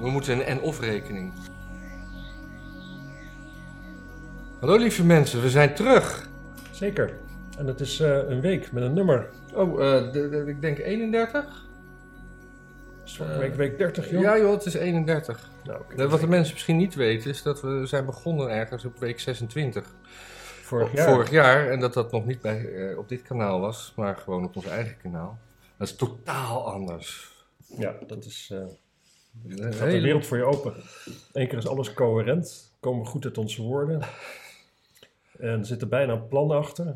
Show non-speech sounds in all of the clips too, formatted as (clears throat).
We moeten een en-of rekening. Hallo lieve mensen, we zijn terug. Zeker. En het is eh, een week met een nummer. Oh, eh, de- de- ik denk 31? Is het Eh, week, week 30, joh. Ja joh, het is 31. Nou, oké. Eh, Wat de mensen misschien niet weten is dat we zijn begonnen ergens op week 26. Vorig Op jaar. oh, Vorig jaar. En dat dat nog niet bij, eh, op dit kanaal was, maar gewoon op ons eigen kanaal. Dat is totaal anders. Ja, dat is... eh Een gaat de hele- wereld voor je open. Eén keer is alles coherent. Komen we goed uit onze woorden. En er zitten bijna plannen achter. Ah,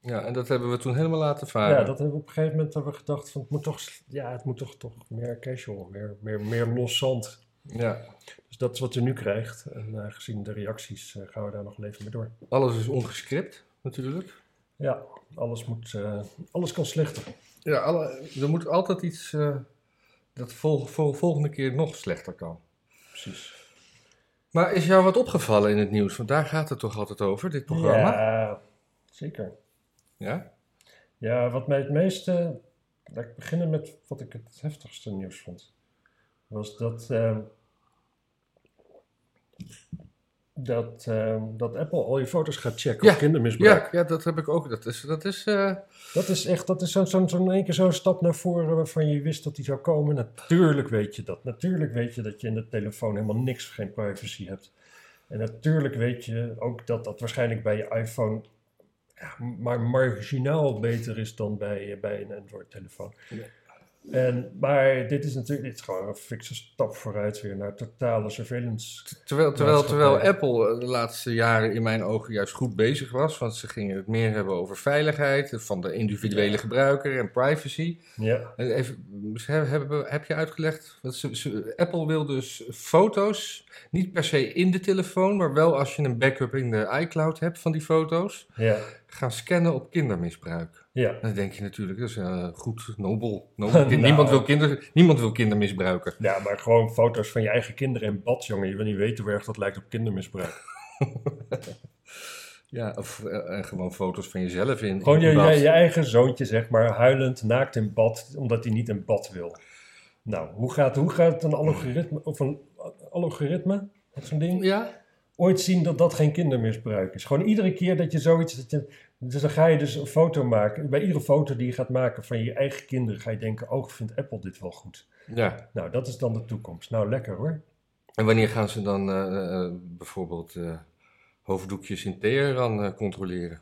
Ja, en dat hebben we toen helemaal laten varen. Ja, dat hebben we op een gegeven moment hebben we gedacht van... Het moet toch, ja, het moet toch, toch meer casual. Meer, meer, meer los zand. ja. Dus dat is wat je nu krijgt. En eh, gezien de reacties eh, gaan we daar nog wel even mee door. Alles is ongescript, natuurlijk. Ja, alles, moet, eh, alles kan slechter. Ja, alle, er moet altijd iets eh, dat vol, vol- volgende keer nog slechter kan. Precies. Maar is jou wat opgevallen in het nieuws? Want daar gaat het toch altijd over, dit programma? Ja. Ja, zeker. Ja, wat mij het meeste. Laat ik beginnen met wat ik het heftigste nieuws vond. Was dat. ehm, dat, ehm, dat Apple al je foto's gaat checken Ja, op kindermisbruik. Ja, ja, dat heb ik ook. Dat is, dat is eh, Dat is echt, dat is zo'n zo, zo in één keer zo'n stap naar voren waarvan je wist dat die zou komen. Natuurlijk weet je dat. Natuurlijk weet je dat je in de telefoon helemaal niks, geen privacy hebt. En natuurlijk weet je ook dat dat waarschijnlijk bij je iPhone ja, maar marginaal beter is dan bij, eh, bij een Android-telefoon. Ja. En, maar dit is natuurlijk dit is gewoon een fikse stap vooruit weer naar totale surveillance. terwijl, terwijl, Maatschappij. terwijl Apple eh, de laatste jaren in mijn ogen juist goed bezig was. Want ze gingen het meer hebben over veiligheid eh, van de individuele gebruiker en privacy. Ja, En Even, ze hebben- hebben, heb je uitgelegd? Want ze- ze- Apple wil dus foto's, niet per se in de telefoon, maar wel als je een backup in de iCloud hebt van die foto's, ja, gaan scannen op kindermisbruik. ja. Dan denk je natuurlijk, dat is eh, goed, nobel. nobel. Nou. niemand, wil kinder, niemand wil kindermisbruiken. Ja, maar gewoon foto's van je eigen kinderen in bad, jongen. Je wil niet weten hoe erg dat lijkt op kindermisbruik. Ja, of eh, eh, gewoon foto's van jezelf in. Gewoon in je, bad. je, je eigen zoontje, zeg maar, huilend, naakt in bad, omdat hij niet in bad wil. Nou, hoe gaat, hoe gaat een algoritme, of een algoritme, wat zo'n ding, Ja? ooit zien dat dat geen kindermisbruik is? Gewoon iedere keer dat je zoiets, dat je, dus dan ga je dus een foto maken. Bij iedere foto die je gaat maken van je eigen kinderen, ga je denken, oh, vindt Apple dit wel goed? Ja. Nou, dat is dan de toekomst. Nou, lekker hoor. En wanneer gaan ze dan eh, eh, bijvoorbeeld eh, hoofddoekjes in Teheran eh, controleren?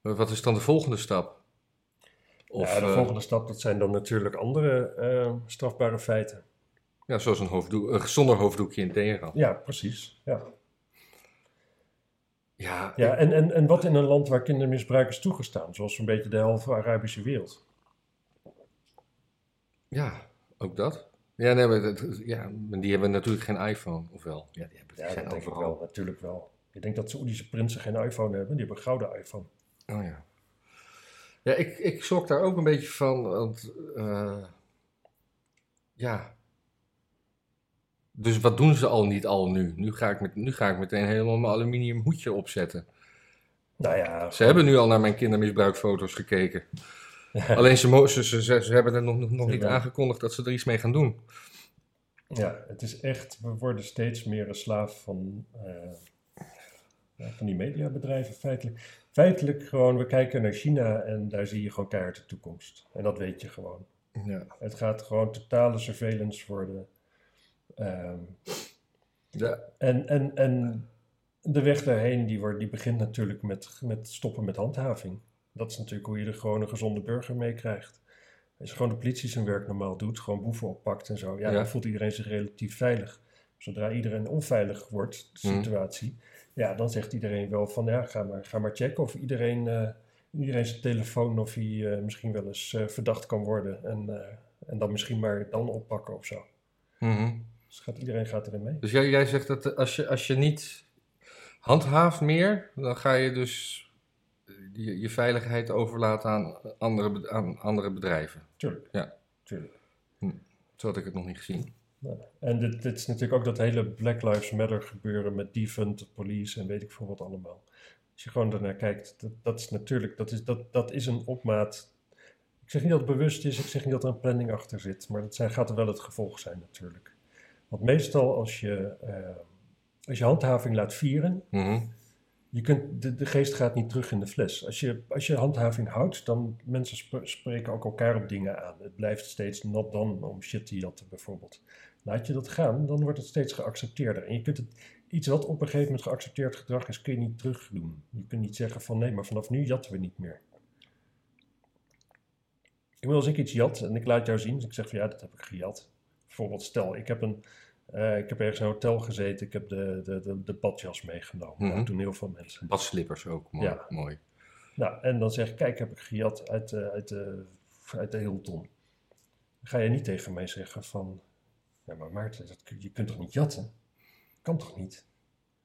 Wa- Wat is dan de volgende stap? Of, ja, de eh, volgende stap, dat zijn dan natuurlijk andere eh, strafbare feiten. ja, zoals een hoofddoek, eh, zonder hoofddoekje in Teheran. Ja, precies. Ja. Ja, Ja, en, en, en wat in een land waar kindermisbruik is toegestaan, zoals een beetje de helft van de Arabische wereld. ja, ook dat. Ja, nee, maar dat- ja, maar die hebben natuurlijk geen iPhone, of wel? Ja, die hebben die Ja, zijn dat denk ik overal. wel, natuurlijk wel. Ik denk dat Saoedische prinsen geen iPhone hebben, die hebben een gouden iPhone. Oh ja. Ja, ik, ik schrok daar ook een beetje van, want eh, ja. Dus wat doen ze al niet al nu? Nu ga ik, met, nu ga ik meteen helemaal mijn aluminium hoedje opzetten. Nou ja, Ze hebben nu al naar mijn kindermisbruikfoto's (laughs) gekeken. Alleen ze, mo- ze, ze, ze ze hebben er nog, nog- nog niet Ja. aangekondigd dat ze er iets mee gaan doen. ja, het is echt, we worden steeds meer een slaaf van, eh, ja, van die mediabedrijven feitelijk. Feitelijk gewoon, we kijken naar China en daar zie je gewoon keihard de toekomst. En dat weet je gewoon. Ja. Het gaat gewoon totale surveillance worden. Ehm, Ja, En, en, en de weg daarheen, die, wordt, die begint natuurlijk met, met stoppen met handhaving. Dat is natuurlijk hoe je er gewoon een gezonde burger mee krijgt. Als je gewoon de politie zijn werk normaal doet, gewoon boeven oppakt en zo, ja, Ja. dan voelt iedereen zich relatief veilig. Zodra iedereen onveilig wordt, de Mhm. situatie, ja, dan zegt iedereen wel van, ja, ga maar, ga maar checken of iedereen, eh, iedereen zijn telefoon of hij eh, misschien wel eens eh, verdacht kan worden. En, eh, en dan misschien maar dan oppakken of zo. mhm. Dus gaat, iedereen gaat erin mee. Dus jij, jij zegt dat eh, als je, als je niet handhaaft meer, dan ga je dus je, je veiligheid overlaten aan andere, be- aan andere bedrijven. Tuurlijk. Ja. Tuurlijk. Zo had ik het nog niet gezien. Nou, En dit, dit is natuurlijk ook dat hele Black Lives Matter gebeuren met defund, police en weet ik veel wat allemaal. Als je gewoon daarnaar kijkt, dat, dat is natuurlijk, dat is, dat, dat is een opmaat. Ik zeg niet dat het bewust is, ik zeg niet dat er een planning achter zit, maar dat zijn, gaat er wel het gevolg zijn natuurlijk. Want meestal als je, eh, als je handhaving laat vieren, mhm. je kunt, de, de geest gaat niet terug in de fles. Als je, als je handhaving houdt, dan mensen sp- spreken ook elkaar op dingen aan. Het blijft steeds nat dan om shit te jatten bijvoorbeeld. Laat je dat gaan, dan wordt het steeds geaccepteerder. En je kunt het, iets wat op een gegeven moment geaccepteerd gedrag is, kun je niet terugdoen. Je kunt niet zeggen van nee, maar vanaf nu jatten we niet meer. Ik bedoel, als ik iets jat en ik laat jou zien, dus ik zeg van ja, dat heb ik gejat. Bijvoorbeeld stel, ik heb, een, eh, ik heb ergens in een hotel gezeten, ik heb de, de, de, de badjas meegenomen. Mhm. Dat doen heel veel mensen. Badslippers ook, mooi. Ja. mooi. Nou, en dan zeg ik, kijk, heb ik gejat uit, eh, uit, de uit de Hilton. Dan ga je niet tegen mij zeggen van, ja maar Maarten, dat, kun- je kunt toch niet jatten? Kan toch niet?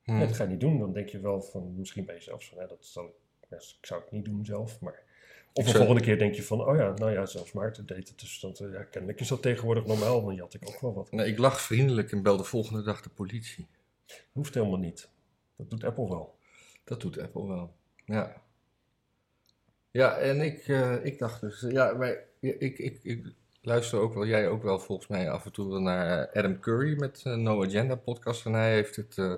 Hm. Nee, dat ga je niet doen. Dan denk je wel van, misschien bij jezelf van, ja, dat zal ik, ja, ik zou het niet doen zelf, maar... Of de zou- volgende keer denk je van, oh ja, nou ja, zelfs Maarten deed het, dus dat, eh, ja, kennelijk is dat tegenwoordig normaal, dan jat ik ook wel wat. Nou, ik lag vriendelijk en belde volgende dag de politie. Hoeft helemaal niet. Dat doet Apple wel. Dat doet Apple wel. Ja. Ja, en ik, eh, ik dacht dus, ja, maar ik, ik, ik luister ook wel, jij ook wel volgens mij af en toe wel naar eh, Adam Curry met eh, No Agenda podcast. En hij heeft het eh,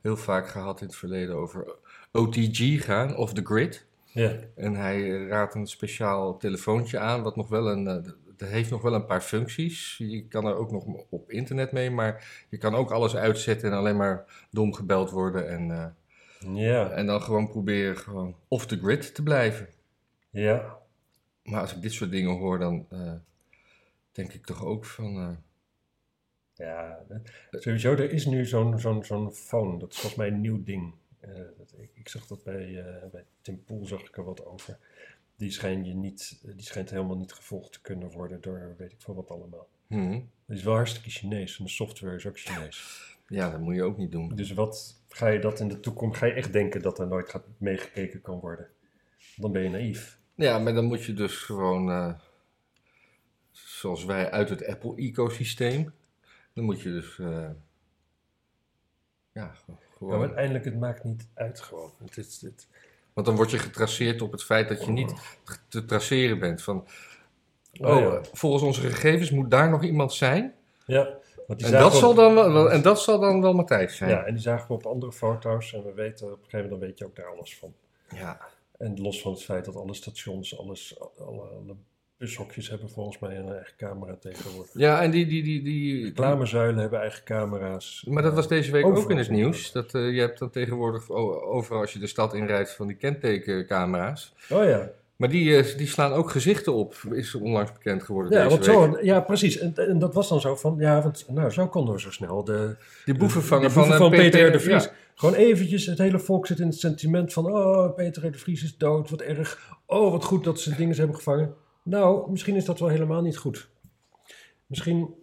heel vaak gehad in het verleden over OTG gaan, of the grid. Ja, En hij eh, raadt een speciaal telefoontje aan, wat nog wel een. eh, d- dat heeft nog wel een paar functies. Je kan er ook nog m- op internet mee, maar je kan ook alles uitzetten en alleen maar dom gebeld worden. En, eh, ja, en dan gewoon proberen gewoon off the grid te blijven. ja. Maar als ik dit soort dingen hoor, dan eh, denk ik toch ook van. eh, Ja, eh, sowieso, er is nu zo'n zo'n zo'n phone. Dat is volgens mij een nieuw ding. Eh, dat, ik, ik zag dat bij, eh, bij Tim Poel zag ik er wat over. Die schijnt, je niet, eh, die schijnt helemaal niet gevolgd te kunnen worden door weet ik veel wat allemaal. hm, Het is wel hartstikke Chinees en de software is ook Chinees. ja, dat moet je ook niet doen. Dus wat ga je dat in de toekomst, ga je echt denken dat er nooit gaat, meegekeken kan worden? Dan ben je naïef. Ja, maar dan moet je dus gewoon, eh, zoals wij uit het Apple-ecosysteem, dan moet je dus, eh, ja, ge- Maar gewoon. uiteindelijk, het maakt niet uit gewoon. Het is, het, Want dan word je getraceerd op het feit dat je niet te traceren bent. Van, oh, Oh, ja. eh, volgens onze gegevens moet daar nog iemand zijn. ja, want die En zagen dat, ook- zal dan wel, wel- en dat zal dan wel Matthijs zijn. Ja, en die zagen we op andere foto's en we weten op een gegeven moment dan weet je ook daar alles van. Ja. En los van het feit dat alle stations, alles, alle, alle bushokjes hebben volgens mij een eigen camera tegenwoordig. Ja, en die, die, die, die, Reclamezuilen hebben eigen camera's. Maar dat was deze week ook Overal. in het nieuws. Dat, eh, je hebt dan tegenwoordig o- overal als je de stad inrijdt van die kentekencamera's. Oh ja, Maar die, eh, die slaan ook gezichten op, is onlangs bekend geworden ja, deze want week. zo, ja precies. En, en dat was dan zo van, ja, want nou, zo konden we zo snel de, Die boevenvanger de boeven van, eh, van Peter R. de Vries. ja. Gewoon eventjes, het hele volk zit in het sentiment van, oh, Peter R. de Vries is dood, wat erg. Oh, wat goed dat ze dingen hebben gevangen. Nou, misschien is dat wel helemaal niet goed. Misschien,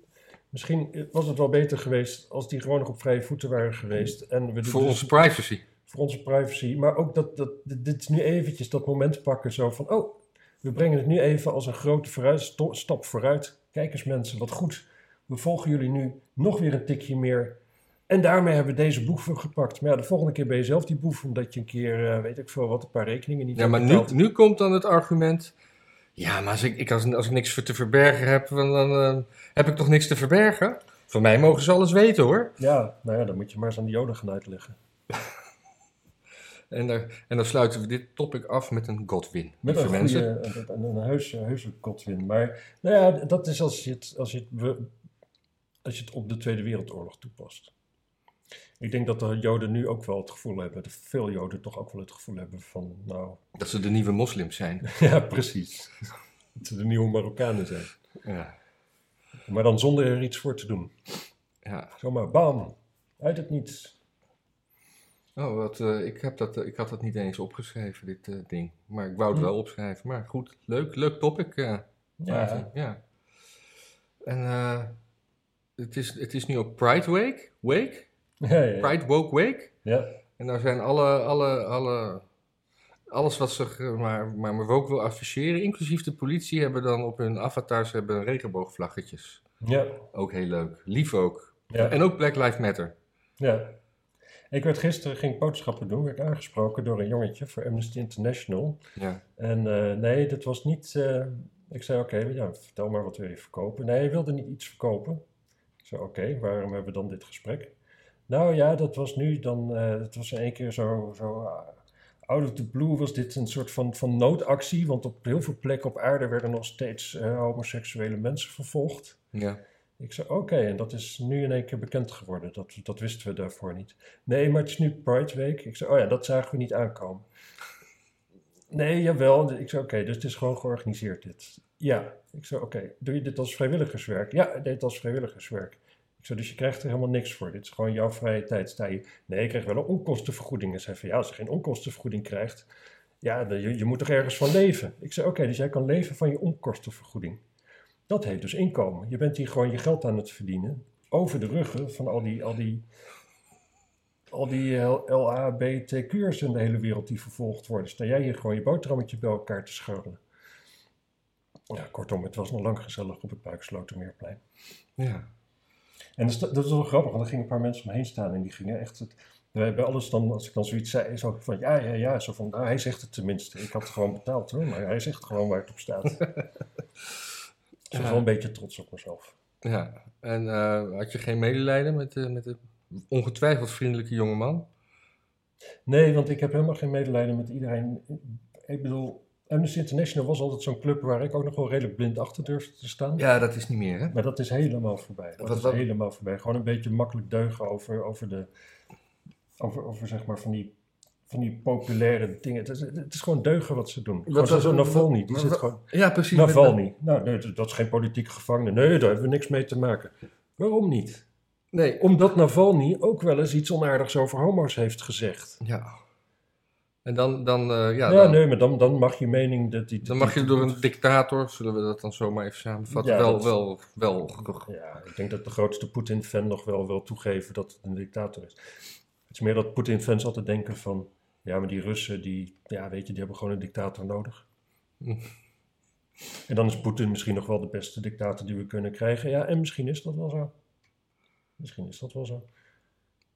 misschien was het wel beter geweest als die gewoon nog op vrije voeten waren geweest. En we voor dus- onze privacy. voor onze privacy. Maar ook dat, dat dit dit is nu eventjes dat moment pakken zo van, oh, we brengen het nu even als een grote vooruit, sto- stap vooruit. Kijk eens mensen, wat goed. We volgen jullie nu nog weer een tikje meer. En daarmee hebben we deze boef gepakt. Maar ja, de volgende keer ben je zelf die boef, omdat je een keer, eh, weet ik veel wat, een paar rekeningen niet Ja, maar hebt nu, betaald. nu komt dan het argument. Ja, maar als ik, ik, als, als ik niks voor te verbergen heb, dan, dan eh, heb ik toch niks te verbergen? Van mij mogen ze alles weten hoor. Ja, nou ja, dan moet je maar eens aan die joden gaan uitleggen. En, daar, en dan sluiten we dit topic af met een Godwin. Met lieve een goede, een, een, een heuse, heuse Godwin. Maar nou ja, dat is als je, het, als, je het, we- als je het op de Tweede Wereldoorlog toepast. Ik denk dat de Joden nu ook wel het gevoel hebben, dat veel Joden toch ook wel het gevoel hebben van, nou, (laughs) Dat ze de nieuwe moslims zijn. ja, precies. Dat ze de nieuwe Marokkanen zijn. ja. Maar dan zonder er iets voor te doen. ja. Zomaar, bam, uit het niets. Oh, wat, eh, ik, heb dat, eh, ik had dat niet eens opgeschreven, dit eh, ding. Maar ik wou het Hm. wel opschrijven. Maar goed, leuk, leuk topic. eh, Maarten, ja. En eh, het, is, het is nu ook Pride Week. Wake? ja, ja. Pride Woke Week. ja. En daar zijn alle, alle, alle, alles wat ze eh, maar, maar, maar ook wil afficheren, inclusief de politie, hebben dan op hun avatars hebben regenboogvlaggetjes. ja. Ook heel leuk. Lief ook. ja. En ook Black Lives Matter. Ja. Ik werd gisteren, ging ik boodschappen doen, werd aangesproken door een jongetje voor Amnesty International. Ja. En eh, nee, dat was niet... eh, ik zei, oké, ja, vertel maar wat wil je verkopen. Nee, hij wilde niet iets verkopen. Ik zo, oké, waarom hebben we dan dit gesprek? Nou ja, dat was nu dan, eh het was in één keer zo, zo ah, out of the blue was dit een soort van, van noodactie, want op heel veel plekken op aarde werden nog steeds eh, homoseksuele mensen vervolgd. Ja. Ik zei, oké, en dat is nu in één keer bekend geworden. Dat, dat wisten we daarvoor niet. Nee, maar het is nu Pride Week. Ik zei, oh ja, dat zagen we niet aankomen. Nee, jawel. Ik zei, oké, dus het is gewoon georganiseerd dit. Ja. Ik zei, oké, doe je dit als vrijwilligerswerk? Ja, ik deed het als vrijwilligerswerk. Ik zei, dus je krijgt er helemaal niks voor. Dit is gewoon jouw vrije tijd. Sta je, nee, ik krijg wel een onkostenvergoeding. En zei van, ja, als je geen onkostenvergoeding krijgt, ja, dan- je, je moet toch ergens van leven? Ik zei, oké, dus jij kan leven van je onkostenvergoeding. Dat heet dus inkomen. Je bent hier gewoon je geld aan het verdienen. Over de ruggen van al die, al die, al die eh, LHBTQ'ers in de hele wereld die vervolgd worden. Sta jij hier gewoon je boterhammetje bij elkaar te scharrelen. Ja, kortom, het was nog lang gezellig op het Buikslotermeerplein. Ja. En dat is, dat is wel grappig, want er gingen een paar mensen omheen staan en die gingen echt... Het, bij bij alles dan, als ik dan zoiets zei, zo van ja, ja, ja, zo van, nou, hij zegt het tenminste. Ik had het gewoon betaald hoor, maar hij zegt gewoon waar het op staat. Dus ik was wel een beetje trots op mezelf. ja. En eh, had je geen medelijden met, eh, met de ongetwijfeld vriendelijke jongeman? Nee, want ik heb helemaal geen medelijden met iedereen. Ik bedoel, Amnesty International was altijd zo'n club waar ik ook nog wel redelijk blind achter durfde te staan. Ja, dat is niet meer, hè? Maar dat is helemaal voorbij. Dat Wat- is wat- helemaal voorbij. Gewoon een beetje makkelijk deugen over, over de. Over, over zeg maar van die. Van die populaire dingen. Het is, het is gewoon deugen wat ze doen. Gewoon Wat- zo- wat- zo'n wat- Navalny. Die wat- zit wat- gewoon. Ja, precies. Navalny. Nou, nee, dat- dat is geen politieke gevangene. Nee, daar hebben we niks mee te maken. Waarom niet? Nee. Omdat Navalny ook wel eens iets onaardigs over homo's heeft gezegd. Ja. En dan, dan, eh, ja, Ja, dan, nee, maar dan, dan mag je mening... Dat die, dan mag je die- door een dictator, zullen we dat dan zomaar even samenvatten, Ja, wel, dat- wel, wel, ge- Ja, ik denk dat de grootste Poetin-fan nog wel wil toegeven dat het een dictator is. Het is meer dat Poetin-fans altijd denken van... Ja, maar die Russen, die, ja, weet je, die hebben gewoon een (laughs) dictator nodig. Mm. En dan is Poetin misschien nog wel de beste dictator die we kunnen krijgen. Ja, en misschien is dat wel zo. Misschien is dat wel zo.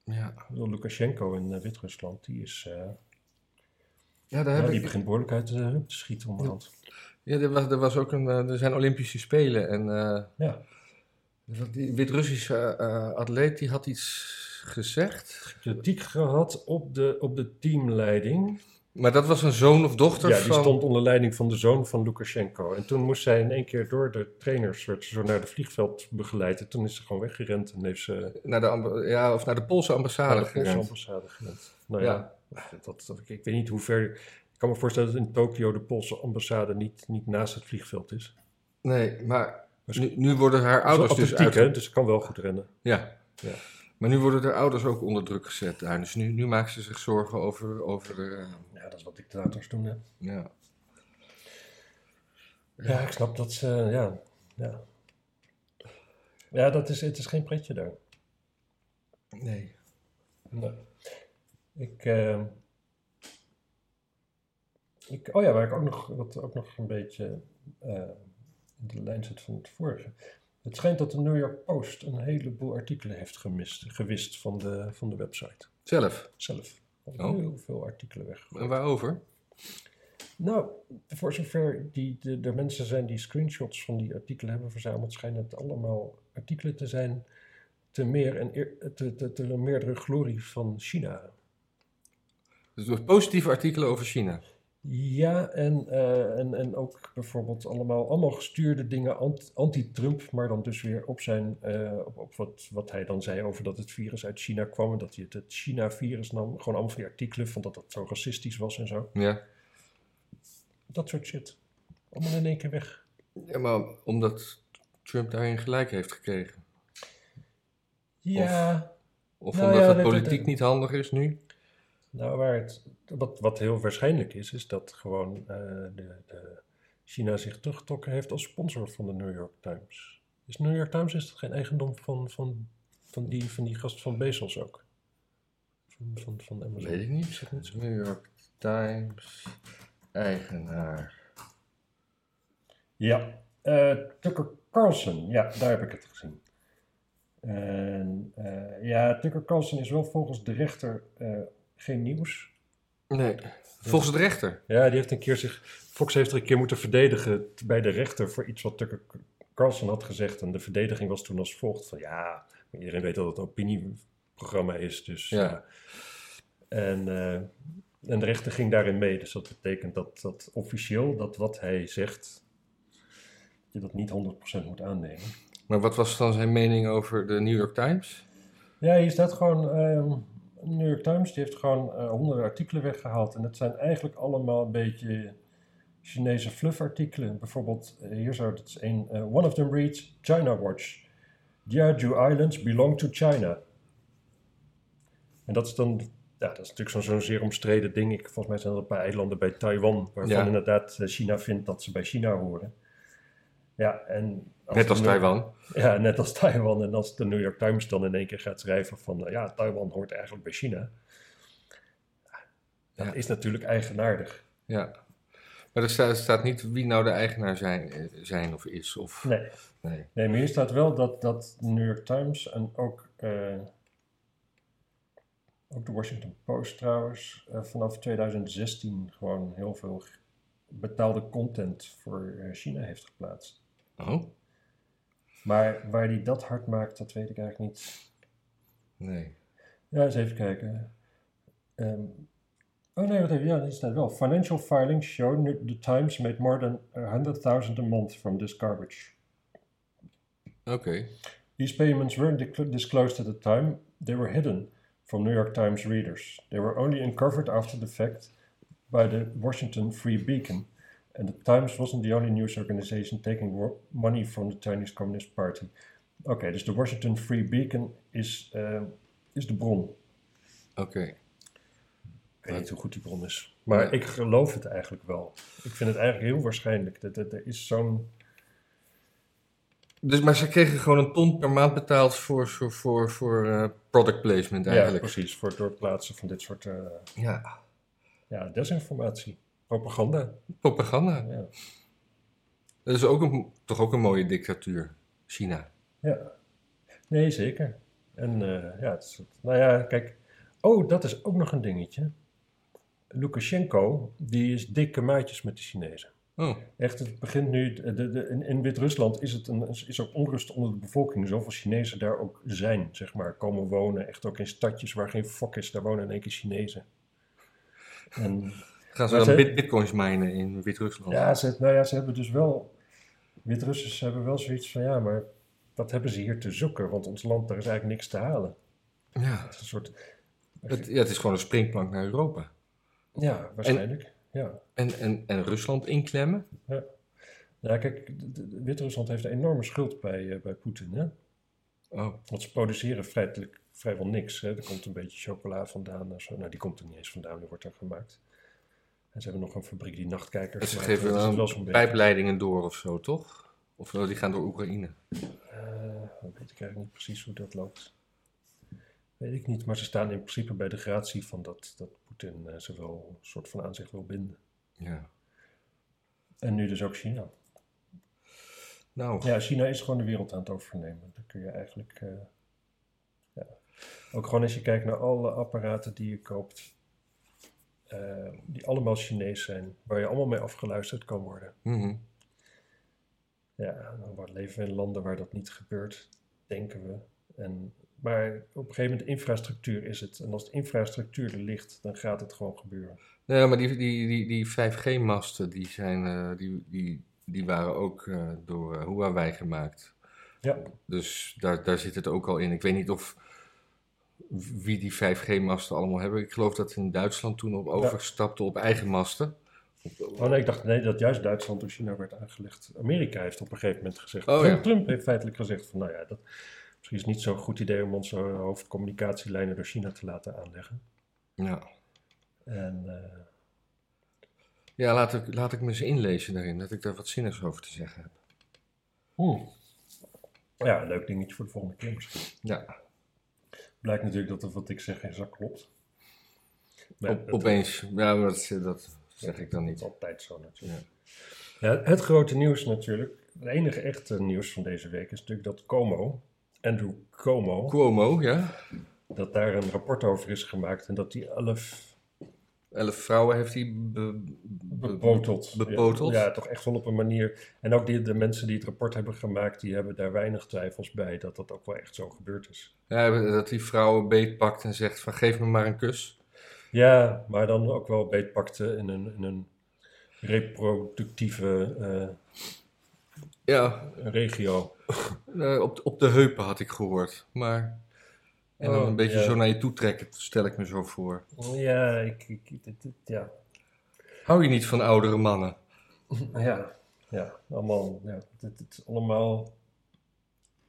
Ik Ja, bedoel, Lukashenko in eh, Wit-Rusland, die is... eh, ja daar ja, heb die ik... begint behoorlijk uit de heup te schieten onderhand. Ja, er, was, er, was ook een, eh, er zijn Olympische Spelen en eh, Ja, die Wit-Russische eh, eh, atleet die had iets gezegd. kritiek gehad op de, op de teamleiding... Maar dat was een zoon of dochter Ja, van... die stond onder leiding van de zoon van Lukashenko. En toen moest zij in één keer door de trainers, werd ze zo naar het vliegveld begeleid. En toen is ze gewoon weggerend en heeft ze Naar de, amb- ja, of naar de Poolse ambassade naar de Poolse gerend. ambassade gerend. Nou ja, Dat, dat, ik, ik weet niet hoe ver... Ik kan me voorstellen dat in Tokio de Poolse ambassade niet, niet naast het vliegveld is. Nee, maar Dus- nu, nu worden haar Zo ouders dus atletiek, uit... hè, dus ze kan wel goed rennen. Ja. Ja. Maar nu worden haar ouders ook onder druk gezet daar. Dus nu, nu maken ze zich zorgen over... over eh, Ja, dat is wat dictators doen, hè. ja. Ja, ik snap dat ze... Ja, ja. ja dat is, het is geen pretje daar. Nee. Nee. Ik, eh, ik, oh ja, waar ik ook nog, wat ook nog een beetje eh, in de lijn zit van het vorige. Het schijnt dat de New York Post een heleboel artikelen heeft gemist, gewist van de, van de website Zelf. zelf. Er Oh. heel veel artikelen weg. En waarover? Nou, voor zover die, de, de mensen zijn die screenshots van die artikelen hebben verzameld, schijnen het allemaal artikelen te zijn te meer en eer- te, te, te meerdere glorie van China. Dus door positieve artikelen over China. Ja, en, eh, en, en ook bijvoorbeeld allemaal, allemaal gestuurde dingen ant- anti-Trump, maar dan dus weer op zijn, eh, op, op wat, wat hij dan zei over dat het virus uit China kwam en dat hij het, het China-virus nam. Gewoon allemaal van die artikelen van dat dat zo racistisch was en zo. Ja. Dat soort shit. Allemaal in één keer weg. ja. Maar omdat Trump daarin gelijk heeft gekregen. Ja, Of Nou omdat ja, het dat- dat- politiek niet handig is nu. nou waar het, wat, wat heel waarschijnlijk is, is dat gewoon eh, de, de China zich teruggetrokken heeft als sponsor van de New York Times. Is New York Times is dat geen eigendom van, van, van, die, van die gast van Bezos ook? Van, van, van Amazon? Weet ik Is niet. dat niet zo? New York Times eigenaar. Ja, eh, Tucker Carlson, ja, daar heb ik het gezien. En, eh, ja, Tucker Carlson is wel volgens de rechter eh, geen nieuws. Nee, volgens de rechter. Ja, die heeft een keer zich. Fox heeft er een keer moeten verdedigen t- bij de rechter voor iets wat Tucker Carlson Carlson had gezegd, en de verdediging was toen als volgt: van ja, iedereen weet dat het een opinieprogramma is. Dus, Ja. eh, en, eh, en de rechter ging daarin mee. Dus dat betekent dat, dat officieel dat wat hij zegt, je dat niet 100% moet aannemen. Maar wat was dan zijn mening over de New York Times? Ja, hier staat gewoon. ehm New York Times die heeft gewoon eh, honderden artikelen weggehaald. En dat zijn eigenlijk allemaal een beetje Chinese fluffartikelen. Bijvoorbeeld, eh, hier zou het een. eh, one of them reads China Watch. Jeju Islands belong to China. En dat is dan. Ja, dat is natuurlijk zo'n zo'n zeer omstreden ding. Ik, volgens mij zijn er een paar eilanden bij Taiwan. waarvan Ja. inderdaad eh, China vindt dat ze bij China horen. Ja, en. Net als de- Taiwan. ja, net als Taiwan. En als de New York Times dan in één keer gaat schrijven van... nou ja, Taiwan hoort eigenlijk bij China. Dat Ja. is natuurlijk eigenaardig. Ja. Maar er staat, staat niet wie nou de eigenaar zijn, eh, zijn of is. Of, Nee. nee. nee, maar hier staat wel dat, dat de New York Times en ook... eh, ook de Washington Post trouwens... eh, vanaf 2016 gewoon heel veel betaalde content voor eh, China heeft geplaatst. Oh? Maar waar die dat hard maakt, dat weet ik eigenlijk niet. Nee. Ja, eens even kijken. Ehm, oh nee, wat even. Ja, die staat wel. Financial filings show nu- the Times made more than 100,000 a month from this garbage. Oké. These payments weren't dic- disclosed at the time, they were hidden from New York Times readers. They were only uncovered after the fact by the Washington Free Beacon. And the Times wasn't the only news organization taking wo- money from the Chinese Communist Party. Oké, dus de Washington Free Beacon is, ehm, is de bron. Oké. Ik weet niet hoe goed die bron is. Maar ik geloof het eigenlijk wel. Ik vind het eigenlijk heel waarschijnlijk. Dat, dat, er is zo'n... Dus, maar ze kregen gewoon een ton per maand betaald voor, voor, voor, voor eh, product placement Ja, eigenlijk. precies. Voor het doorplaatsen van dit soort eh, Ja, ja, desinformatie. Propaganda. propaganda. Ja. Dat is ook een, toch ook een mooie dictatuur, China. ja. Nee, zeker. En eh, ja, het is, nou ja, kijk. Oh, dat is ook nog een dingetje. Lukashenko, die is dikke maatjes met de Chinezen. Oh, Echt, het begint nu. De, de, in, in Wit-Rusland is het een, is ook onrust onder de bevolking. Zoveel Chinezen daar ook zijn, zeg maar, komen wonen. Echt ook in stadjes waar geen fok is, daar wonen in één keer Chinezen. En, gaan ze Maar dan ze- bit- bitcoins minen in Wit-Rusland? ja, ze, nou ja, ze hebben dus wel. Wit-Russen ze hebben wel zoiets van ja, maar wat hebben ze hier te zoeken? Want ons land, daar is eigenlijk niks te halen. Ja. Het is een soort. Het, ja, het is gewoon een springplank naar Europa. Ja, waarschijnlijk. Ja. En, en, en Rusland inklemmen? ja, kijk, d- d- Wit-Rusland heeft een enorme schuld bij, eh, bij Poetin, hè? Oh, Want ze produceren vrijelijk, vrijwel niks. Hè. Er komt een beetje chocola vandaan. en Zo. Nou, die komt er niet eens vandaan, die wordt er gemaakt. En ze hebben nog een fabriek die nachtkijkers ze maakt, geven dat is dan wel zo'n beetje. pijpleidingen door of zo, toch? Of eh, die gaan door Oekraïne? Eh, dat weet ik eigenlijk niet precies hoe dat loopt. Weet ik niet, maar ze staan in principe bij de gratie van dat, dat Poetin eh, ze wel een soort van aan zich wil binden. Ja. En nu dus ook China. Nou, Ja, China is gewoon de wereld aan het overnemen. Dan kun je eigenlijk. eh, ja. Ook gewoon als je kijkt naar alle apparaten die je koopt, eh, die allemaal Chinees zijn, waar je allemaal mee afgeluisterd kan worden. mhm. Ja, dan wordt- leven we in landen waar dat niet gebeurt, denken we. En, maar op een gegeven moment, de infrastructuur is het. En als de infrastructuur er ligt, dan gaat het gewoon gebeuren. Nee, maar die, die, die, die 5G-masten, die, zijn, eh, die, die, die waren ook eh, door eh, Huawei gemaakt. Ja, Dus daar, daar zit het ook al in. Ik weet niet of wie die 5G-masten allemaal hebben. Ik geloof dat in Duitsland toen op overstapte op eigen masten. oh nee, ik dacht nee, dat juist Duitsland door China werd aangelegd. Amerika heeft op een gegeven moment gezegd. Oh, Trump, ja. Trump heeft feitelijk gezegd van nou ja, dat misschien is het niet zo'n goed idee om onze hoofdcommunicatielijnen door China te laten aanleggen. Ja, En eh, ja laat, ik, laat ik me eens inlezen daarin, dat ik daar wat zinnigs over te zeggen heb. hmm. ja, leuk dingetje voor de volgende keer misschien. Ja, Blijkt natuurlijk dat wat ik zeg geen zak klopt. Maar op, dat- opeens. Ja, maar dat, dat zeg ik dan dat is niet. altijd zo natuurlijk. Ja, het grote nieuws natuurlijk, het enige echte nieuws van deze week is natuurlijk dat Como, Andrew Como, Cuomo, ja? dat daar een rapport over is gemaakt en dat die elf Elf vrouwen heeft hij be- be- bepoteld. bepoteld. Ja, ja, toch echt wel op een manier. En ook die, de mensen die het rapport hebben gemaakt, die hebben daar weinig twijfels bij dat dat ook wel echt zo gebeurd is. Ja, dat die vrouwen beetpakt en zegt van geef me maar een kus. Ja, maar dan ook wel beetpakte in een, in een reproductieve Ja, eh, regio. eh, op, op de heupen had ik gehoord. Maar, en dan Oh, een beetje ja. zo naar je toe trekken, stel ik me zo voor. Ja, ik, ik, dit- dit- ja. Hou je niet van oudere mannen? ja, ja, allemaal, ja, dit, dit is allemaal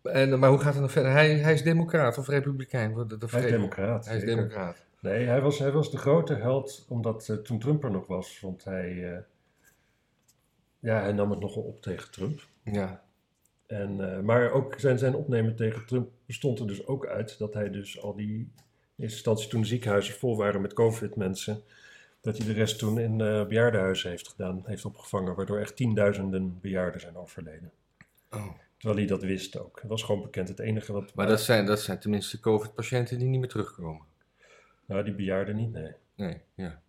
En, eh, maar hoe gaat het dan verder? Hij, hij is democraat of republikein? Wat- Dat, dat hij is vergeet ik. democraat. Hij is zeker. democraat. Nee, hij was, hij was de grote held omdat eh, toen Trump er nog was. Want hij, eh, ja, hij nam het nogal op tegen Trump. Ja. En, eh, maar ook zijn, zijn opnemen tegen Trump bestond er dus ook uit dat hij dus al die in eerste instantie toen de ziekenhuizen vol waren met COVID-mensen, dat hij de rest toen in eh, bejaardenhuizen heeft gedaan, heeft opgevangen, waardoor echt tienduizenden bejaarden zijn overleden. Oh. Terwijl hij dat wist ook. Het was gewoon bekend. Het enige wat. Maar dat zijn, dat zijn tenminste COVID-patiënten die niet meer terugkomen. Nou, die bejaarden niet, nee. Nee, ja.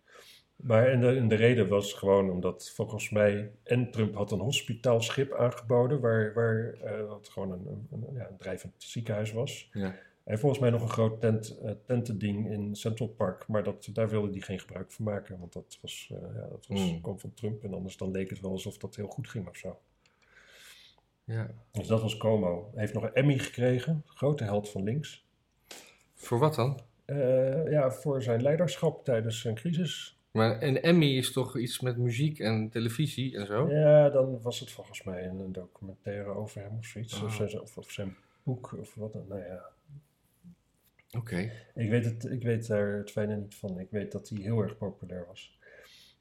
Maar en de, en de reden was gewoon omdat volgens mij. En Trump had een hospitaalschip aangeboden. Waar, waar eh, wat gewoon een, een, een- ja, een drijvend ziekenhuis was. ja. En volgens mij nog een groot tent, eh, tentending in Central Park. Maar dat, daar wilde hij geen gebruik van maken. Want dat, was, eh, ja, dat was, Hmm. kwam van Trump. En anders dan leek het wel alsof dat heel goed ging of zo. ja. Dus dat was Como. Hij heeft nog een Emmy gekregen. Grote held van links. Voor wat dan? Eh, ja, voor zijn leiderschap tijdens een crisis. Maar een Emmy is toch iets met muziek en televisie en zo? Ja, dan was het volgens mij een, een documentaire over hem of zoiets. Of, Ah. zijn, of, of zijn boek of wat dan. Nou ja, Oké. ik weet, het, ik weet daar het fijne niet van. Ik weet dat hij heel erg populair was.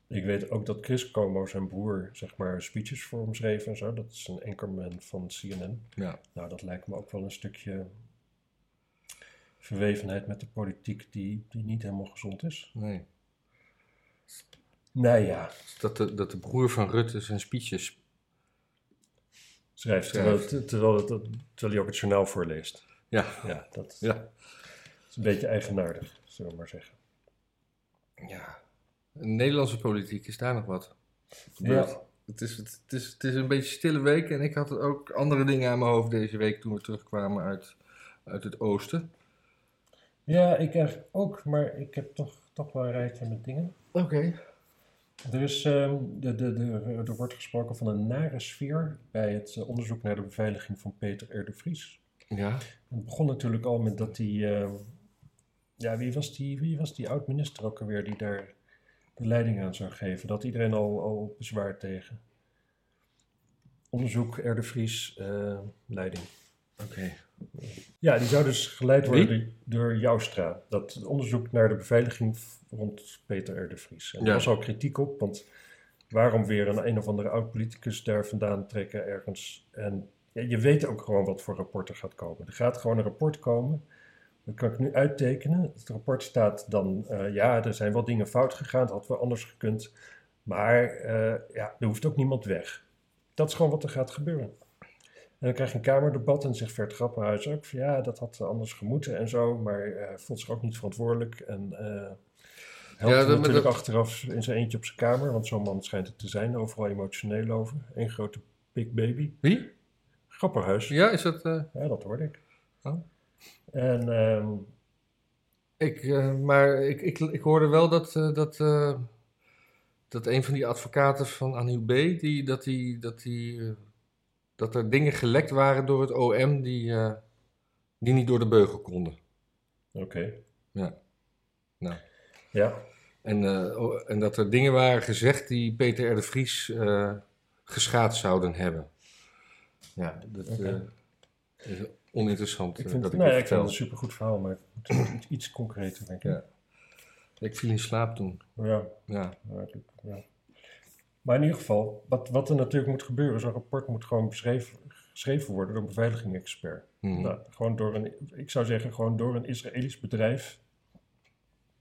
Ik weet ook dat Chris Como, zijn broer, zeg maar speeches voor hem schreef en zo. Dat is een anchorman van CNN. Ja. Nou, dat lijkt me ook wel een stukje verwevenheid met de politiek die, die niet helemaal gezond is. Nee. Nou ja, Dat de, dat de broer van Rutte zijn speeches. schrijft. Terwijl, Schrijft. terwijl, terwijl, terwijl hij ook het journaal voorleest. Ja. Ja, dat, Ja. is een beetje eigenaardig, zullen we maar zeggen. ja. Nederlandse politiek is daar nog wat gebeurd. Ja. Het, is, het, het is, het is een beetje stille week en ik had ook andere dingen aan mijn hoofd deze week toen we terugkwamen uit, uit het oosten. Ja, ik eigenlijk ook, maar ik heb toch, toch wel een rijtje met dingen. Oké. Er, is, ehm, de, de, de, er wordt gesproken van een nare sfeer bij het eh, onderzoek naar de beveiliging van Peter R. de Vries. Ja. Het begon natuurlijk al met dat die, ehm, ja, wie was die, wie was die oud-minister ook alweer die daar de leiding aan zou geven? Dat iedereen al, al bezwaar tegen. Onderzoek R. de Vries, eh, leiding. Oké. Ja, die zou dus geleid Wie? worden door Joustra. Dat onderzoek naar de beveiliging v- rond Peter R. de Vries. En Ja. daar was al kritiek op, want waarom weer een een of andere oud-politicus daar vandaan trekken ergens? En ja, je weet ook gewoon wat voor rapport er gaat komen. Er gaat gewoon een rapport komen. Dat kan ik nu uittekenen. Het rapport staat dan, eh, ja, er zijn wel dingen fout gegaan, dat had wel anders gekund. Maar eh, ja, er hoeft ook niemand weg. Dat is gewoon wat er gaat gebeuren. En dan krijg je een kamerdebat en zegt Vert Grappenhuis ook van ja, dat had anders gemoeten en zo, maar eh voelt zich ook niet verantwoordelijk en eh helpt Ja, dat- hem natuurlijk dat- achteraf in zijn eentje op zijn kamer, want zo'n man schijnt het te zijn, overal emotioneel over. Een grote big baby. Wie? Grappenhuis, ja, Ja, is dat. eh, dat hoorde ik. Oh. En ehm, Ik, eh, maar ik, ik, ik hoorde wel dat, eh, dat, eh, dat een van die advocaten van Annie B. Die, dat, die, dat, die, eh, dat er dingen gelekt waren door het OM die, eh, die niet door de beugel konden. oké, Ja. Nou. ja. En, eh, o- en dat er dingen waren gezegd die Peter R. de Vries eh, geschaad zouden hebben. Ja, dat Oké. eh, is oninteressant Ik eh, vind, dat ik nou, dit ja, ik vind vertel. het een supergoed verhaal, maar het moet iets, iets concreter, denk ik. Ja. Ik viel in slaap toen. ja. Ja, Ja, dat- ja. Maar in ieder geval, wat, wat er natuurlijk moet gebeuren, zo'n rapport moet gewoon beschreven, geschreven worden door een beveiligingsexpert. Mhm. Nou, gewoon door een, ik zou zeggen, gewoon door een Israëlisch bedrijf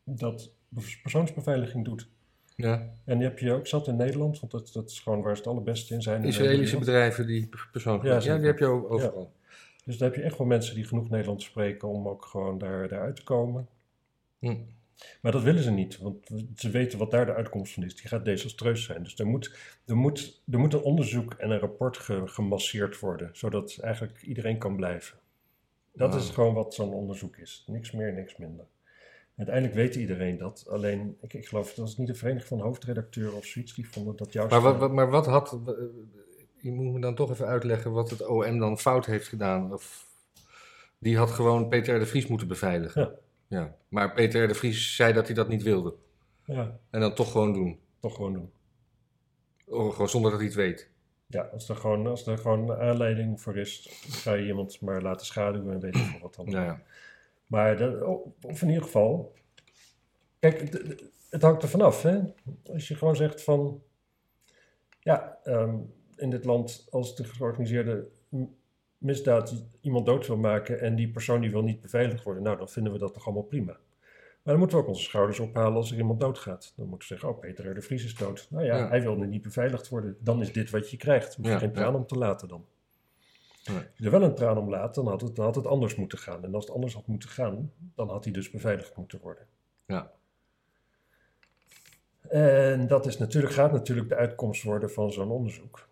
dat pers- persoonsbeveiliging doet. ja. En die heb je ook zat in Nederland, want dat, dat is gewoon waar ze het allerbeste in zijn. in Israëlische Nederland. bedrijven die persoonlijk. Ja, Ja, zeker. die heb je o- overal. Dus daar heb je echt wel mensen die genoeg Nederlands spreken om ook gewoon daar, daaruit te komen. Hm. Maar dat willen ze niet, want ze weten wat daar de uitkomst van is. Die gaat desastreus zijn. Dus er moet, er moet, er moet een onderzoek en een rapport ge- gemasseerd worden, zodat eigenlijk iedereen kan blijven. Dat Ah. is gewoon wat zo'n onderzoek is. Niks meer, niks minder. Uiteindelijk weet iedereen dat. Alleen, ik, ik geloof, dat was niet de Vereniging van Hoofdredacteuren of zoiets, die vonden dat juist... eh, Maar wat, wat- maar wat had. w- Je moet me dan toch even uitleggen wat het OM dan fout heeft gedaan. Of, die had gewoon Peter R. de Vries moeten beveiligen. Ja. Ja. Maar Peter R. de Vries zei dat hij dat niet wilde. Ja, En dan toch gewoon doen. toch gewoon doen. Oh, gewoon zonder dat hij het weet. Ja, als er gewoon, als er gewoon aanleiding voor is, ga je iemand maar laten schaduwen en weet ik veel wat dan. Nou ja. Maar dat, oh, of in ieder geval, kijk, het, het hangt er vanaf. hè. Als je gewoon zegt van, ja, ehm, in dit land, als de georganiseerde m- misdaad iemand dood wil maken en die persoon die wil niet beveiligd worden, nou, dan vinden we dat toch allemaal prima. Maar dan moeten we ook onze schouders ophalen als er iemand doodgaat. Dan moeten we zeggen, oh, Peter R. de Vries is dood. Nou ja, Ja. hij wilde niet beveiligd worden. Dan is dit wat je krijgt. Moet je Ja, geen ja. traan om te laten dan. Nee. Als je er wel een traan om laat, dan had, het, dan had het anders moeten gaan. En als het anders had moeten gaan, dan had hij dus beveiligd moeten worden. Ja. En dat is natuurlijk, gaat natuurlijk de uitkomst worden van zo'n onderzoek.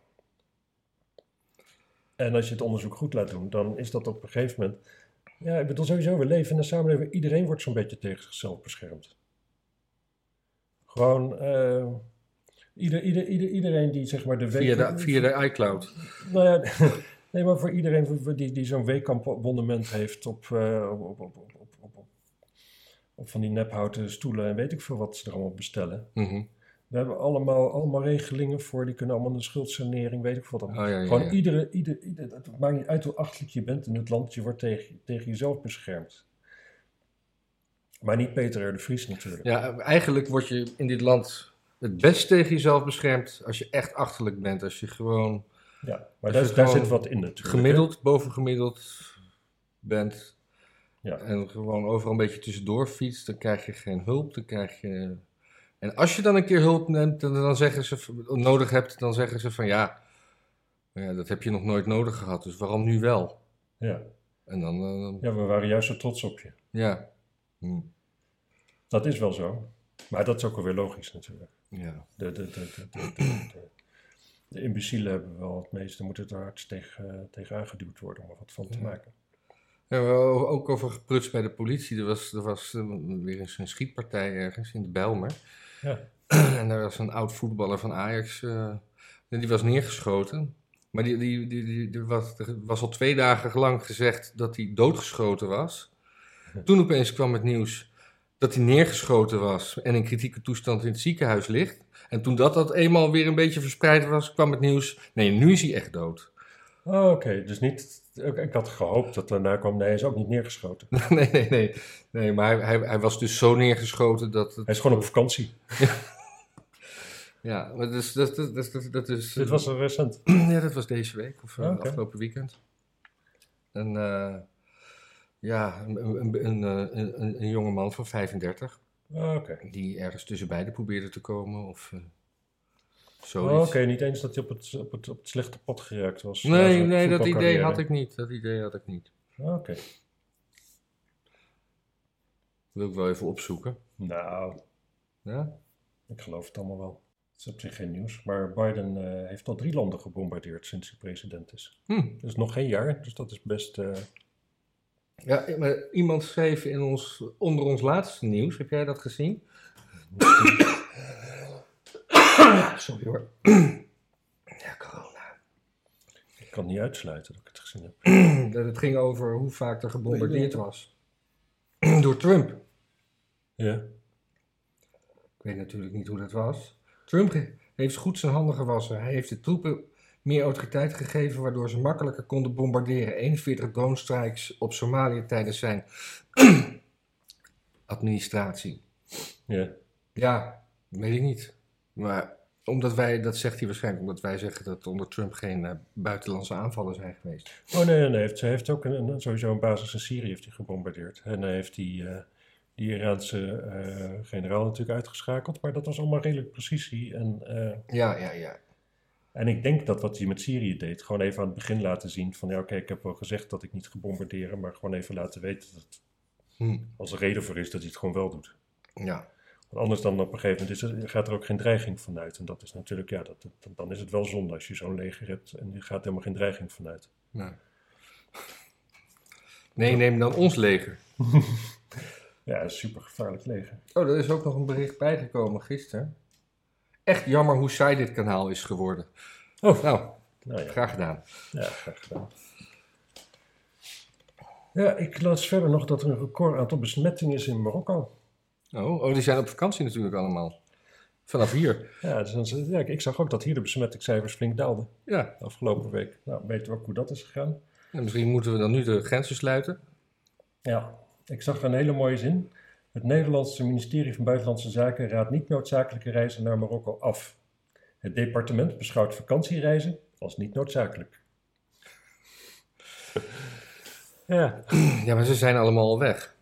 En als je het onderzoek goed laat doen, dan is dat op een gegeven moment. Ja, ik bedoel sowieso, we leven in een samenleving waar iedereen wordt zo'n beetje tegen zichzelf beschermd. Gewoon, eh, ieder, ieder, ieder, iedereen die zeg maar de week... Via, de, via de iCloud. Nou ja, nee, maar voor iedereen voor- voor die, die zo'n weekkampabonnement heeft op, eh, op, op, op, op, op, op, op, op van die nephouten stoelen en weet ik veel wat ze er allemaal bestellen. Mhm. We hebben allemaal, allemaal regelingen voor, die kunnen allemaal een schuldsanering, weet ik veel wat. Oh, allemaal. ja, ja, Gewoon ja. iedere, ieder, ieder, het maakt niet uit hoe achterlijk je bent in het land, je wordt tegen, tegen jezelf beschermd. Maar niet Peter R. de Vries natuurlijk. Ja, eigenlijk word je in dit land het best tegen jezelf beschermd als je echt achterlijk bent. Als je gewoon Ja, Dus maar daar, het daar gewoon zit wat in natuurlijk. hè. gemiddeld, bovengemiddeld bent Ja. en gewoon overal een beetje tussendoor fietst, dan krijg je geen hulp, dan krijg je... En als je dan een keer hulp neemt, dan, dan zeggen ze, v- nodig hebt, dan zeggen ze van ja, nou ja, dat heb je nog nooit nodig gehad, dus waarom nu wel? Ja. En dan, eh, dan- ja, we waren juist zo trots op je. ja. Hm, Dat is wel zo. Maar dat is ook alweer logisch natuurlijk. ja. De, de, de, de, de, de, de, de imbecielen hebben wel het meeste, moeten er hard tegen, tegen aangeduwd worden om er wat van te Ja. maken. Ja, we hebben o- ook over gepruts bij de politie. Er was, er was eh, weer eens een schietpartij ergens in de Bijlmer. Ja. (clears throat) En daar was een oud voetballer van Ajax. eh, en die was neergeschoten. Maar die, die, die, die, die was, er was al twee dagen lang gezegd dat hij doodgeschoten was. Toen opeens kwam het nieuws dat hij neergeschoten was en in kritieke toestand in het ziekenhuis ligt. En toen dat, dat eenmaal weer een beetje verspreid was, kwam het nieuws. Nee, nu is hij echt dood. (laughs) Oh, Oké, dus niet. ik- Ik had gehoopt dat daarna kwam. Nee, hij is ook niet (laughs) neergeschoten. nee, nee, nee. nee maar hij, hij, hij was dus zo neergeschoten dat. Het, Hij is gewoon op vakantie. ja, maar dus, dat, dat, dat, dat, dat is. Dit was er recent. Ja, dat was deze week of eh, Ah, oké. afgelopen weekend. En eh, ja, een, een, een, een, een, een jongeman van 35 Ah, Oké. die ergens tussen beiden probeerde te komen of eh, Oh, zoiets. Oké, niet eens dat hij op het, op, het, op het slechte pot geraakt was. na Nee, zijn nee, dat voetbalcarrière. idee had ik niet. Dat idee had ik niet. Ah, Oké. Dat wil ik wel even opzoeken. Nou, Ja? Ik geloof het allemaal wel. Het is op zich geen nieuws. Maar Biden eh, heeft al drie landen gebombardeerd sinds hij president is. Hm. Dus nog geen jaar, dus dat is best. eh, Ja, maar iemand schreef in ons, onder ons laatste nieuws, heb jij dat gezien? (coughs) Sorry hoor. (coughs) Ja, corona. ik kan niet uitsluiten dat ik het gezien heb. Dat het ging over hoe vaak er gebombardeerd was. (clears throat) Door Trump. Ja. Ik weet natuurlijk niet hoe dat was. Trump ge- heeft goed zijn handen gewassen. Hij heeft de troepen meer autoriteit gegeven, waardoor ze makkelijker konden bombarderen. 41 drone strikes op Somalië tijdens zijn (clears throat) administratie. ja. Ja, weet ik niet. Maar omdat wij, dat zegt hij waarschijnlijk, omdat wij zeggen dat onder Trump geen eh, buitenlandse aanvallen zijn geweest. Oh nee, nee, nee. Heeft, hij heeft ook een, een- sowieso een basis in Syrië heeft hij gebombardeerd. En hij heeft die, eh, die Iraanse eh, generaal natuurlijk uitgeschakeld. Maar dat was allemaal redelijk precisie. En, eh, Ja, ja, ja. en ik denk dat wat hij met Syrië deed, gewoon even aan het begin laten zien: van ja, oké, ik heb wel gezegd dat ik niet ga bombarderen. Maar gewoon even laten weten dat Hm. als er reden voor is dat hij het gewoon wel doet. Ja. Want anders dan op een gegeven moment is er, gaat er ook geen dreiging vanuit. En dat is natuurlijk, ja, dat, dat- dan is het wel zonde als je zo'n leger hebt en je gaat helemaal geen dreiging vanuit. Nou. Nee, neem dan ons leger. Ja, een super gevaarlijk leger. Oh, er is ook nog een bericht bijgekomen gisteren. Echt jammer hoe saai dit kanaal is geworden. Oh. Nou, Nou ja, graag gedaan. ja graag gedaan. Ja, ik las verder nog dat er een record aantal besmettingen is in Marokko. Oh, oh, die zijn op vakantie natuurlijk allemaal. Vanaf hier. Ja, dus dan ze- ja, ik- ik zag ook dat hier de besmettingscijfers flink daalden Ja. de afgelopen week. Nou, weten we ook hoe dat is gegaan. En misschien moeten we dan nu de grenzen sluiten. Ja, ik zag er een hele mooie zin. Het Nederlandse ministerie van Buitenlandse Zaken raadt niet noodzakelijke reizen naar Marokko af. Het departement beschouwt vakantiereizen als (laughs) niet noodzakelijk. Ja. Ja, maar ze zijn allemaal al weg.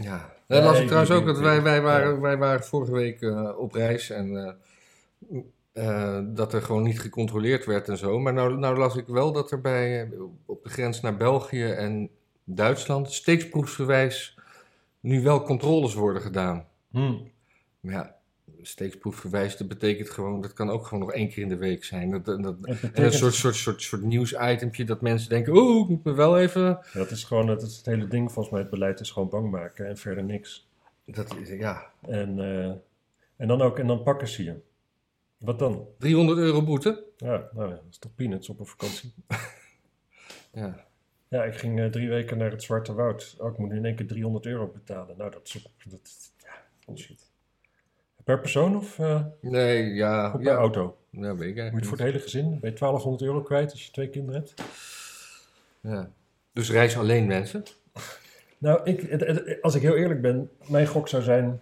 Ja. Ja, Dat las ik ik trouwens denk- ook, dat wij, wij, waren, wij waren vorige week eh, op reis en eh, eh, dat er gewoon niet gecontroleerd werd en zo. Maar nou, nou las ik wel dat er bij, eh, op de grens naar België en Duitsland steeksproefsgewijs nu wel controles worden gedaan. Hm. Maar ja, steeksproefgewijs, dat betekent gewoon, dat kan ook gewoon nog één keer in de week zijn. Dat, dat, dat- Het en een betekent, soort, soort, soort, soort nieuwsitempje dat mensen denken, oh, ik moet me wel even... Dat is gewoon dat is het hele ding volgens mij. Het beleid is gewoon bang maken en verder niks. Dat is, ja, En, eh, en dan ook, en dan pakken ze je. Wat dan? 300 euro boete. Ja, nou ja, dat is toch peanuts op een vakantie. Ja. Ja, ik ging eh, drie weken naar het Zwarte Woud. Oh, ik moet nu in één keer 300 euro betalen. Nou, dat is ook- dat, ja, bullshit. Per persoon of eh, Nee, ja. of per ja. auto? Moet Dat weet ik je het eigenlijk voor niet. het hele gezin? Ben je 1200 euro kwijt als je twee kinderen hebt? Ja. Dus reis alleen mensen. Nou, ik, het- het- als ik heel eerlijk ben, mijn gok zou zijn,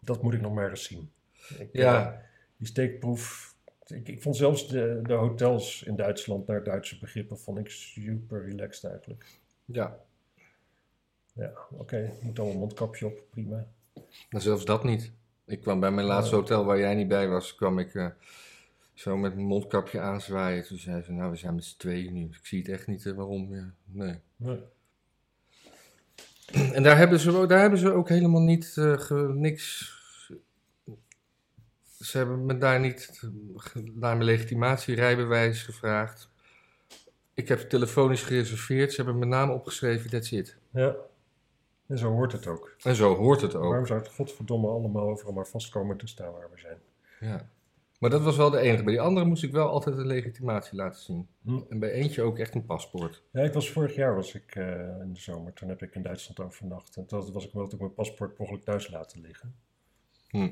dat moet ik nog maar eens zien. Ik, Ja. eh, die steekproef. Ik, ik vond zelfs de, de hotels in Duitsland naar Duitse begrippen vond ik super relaxed eigenlijk. Ja. Ja, oké, moet allemaal mondkapje op, prima. Maar Nou, zelfs dat niet. Oh. Ik kwam bij mijn laatste hotel waar jij niet bij was, kwam ik eh, zo met mijn mondkapje aanzwaaien. Toen zei ze, nou we zijn met z'n tweeën nu. Ik zie het echt niet eh, waarom. Ja. Nee. Nee. En daar hebben ze, ook- daar hebben ze ook helemaal niet eh, ge- niks... Ze hebben me daar niet eh, ge- naar mijn legitimatierijbewijs gevraagd. Ik heb telefonisch gereserveerd. Ze hebben mijn naam opgeschreven. That's it. Ja, en zo hoort het ook. En zo hoort het ook. Waarom zou het godverdomme allemaal overal maar vastkomen te staan waar we zijn? Ja. Maar dat was wel de enige. Bij die andere moest ik wel altijd een legitimatie laten zien. Hm. En bij eentje ook echt een paspoort. Ja, ik was vorig jaar was ik, eh, in de zomer, toen heb ik in Duitsland overnacht. En toen was ik omdat ik mijn paspoort per ongeluk thuis laten liggen. Hm.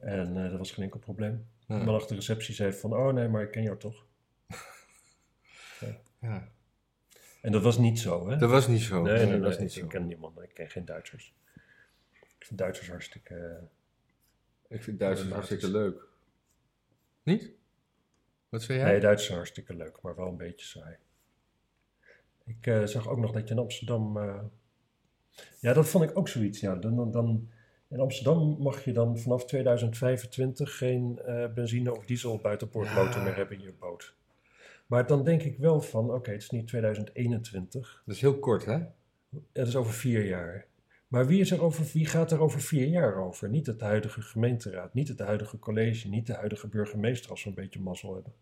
En eh, dat was geen enkel probleem. Ja. Maar achter de receptie zei van, oh nee, maar ik ken jou toch. Ja. En dat was niet zo, hè? Dat was niet zo. nee, nee, nee, dat was ik- niet zo. ik ken niemand, ik ken geen Duitsers. Ik vind Duitsers hartstikke... eh, Ik vind Duitsers hartstikke leuk. Niet? Wat zei jij? Nee, Duitsers zijn hartstikke leuk, maar wel een beetje saai. Ik eh, zag ook nog dat je in Amsterdam. eh, Ja, dat vond ik ook zoiets. Ja. Dan, dan, dan, in Amsterdam mag je dan vanaf 2025 geen eh, benzine of diesel buitenpoortmotor Ja. meer hebben in je boot. Maar dan denk ik wel van: oké, het is niet 2021, Dat is heel kort, hè? het is over vier jaar. Maar wie, is er over, wie gaat er over vier jaar over? Niet het huidige gemeenteraad, niet het huidige college, niet de huidige burgemeester als we een beetje mazzel hebben.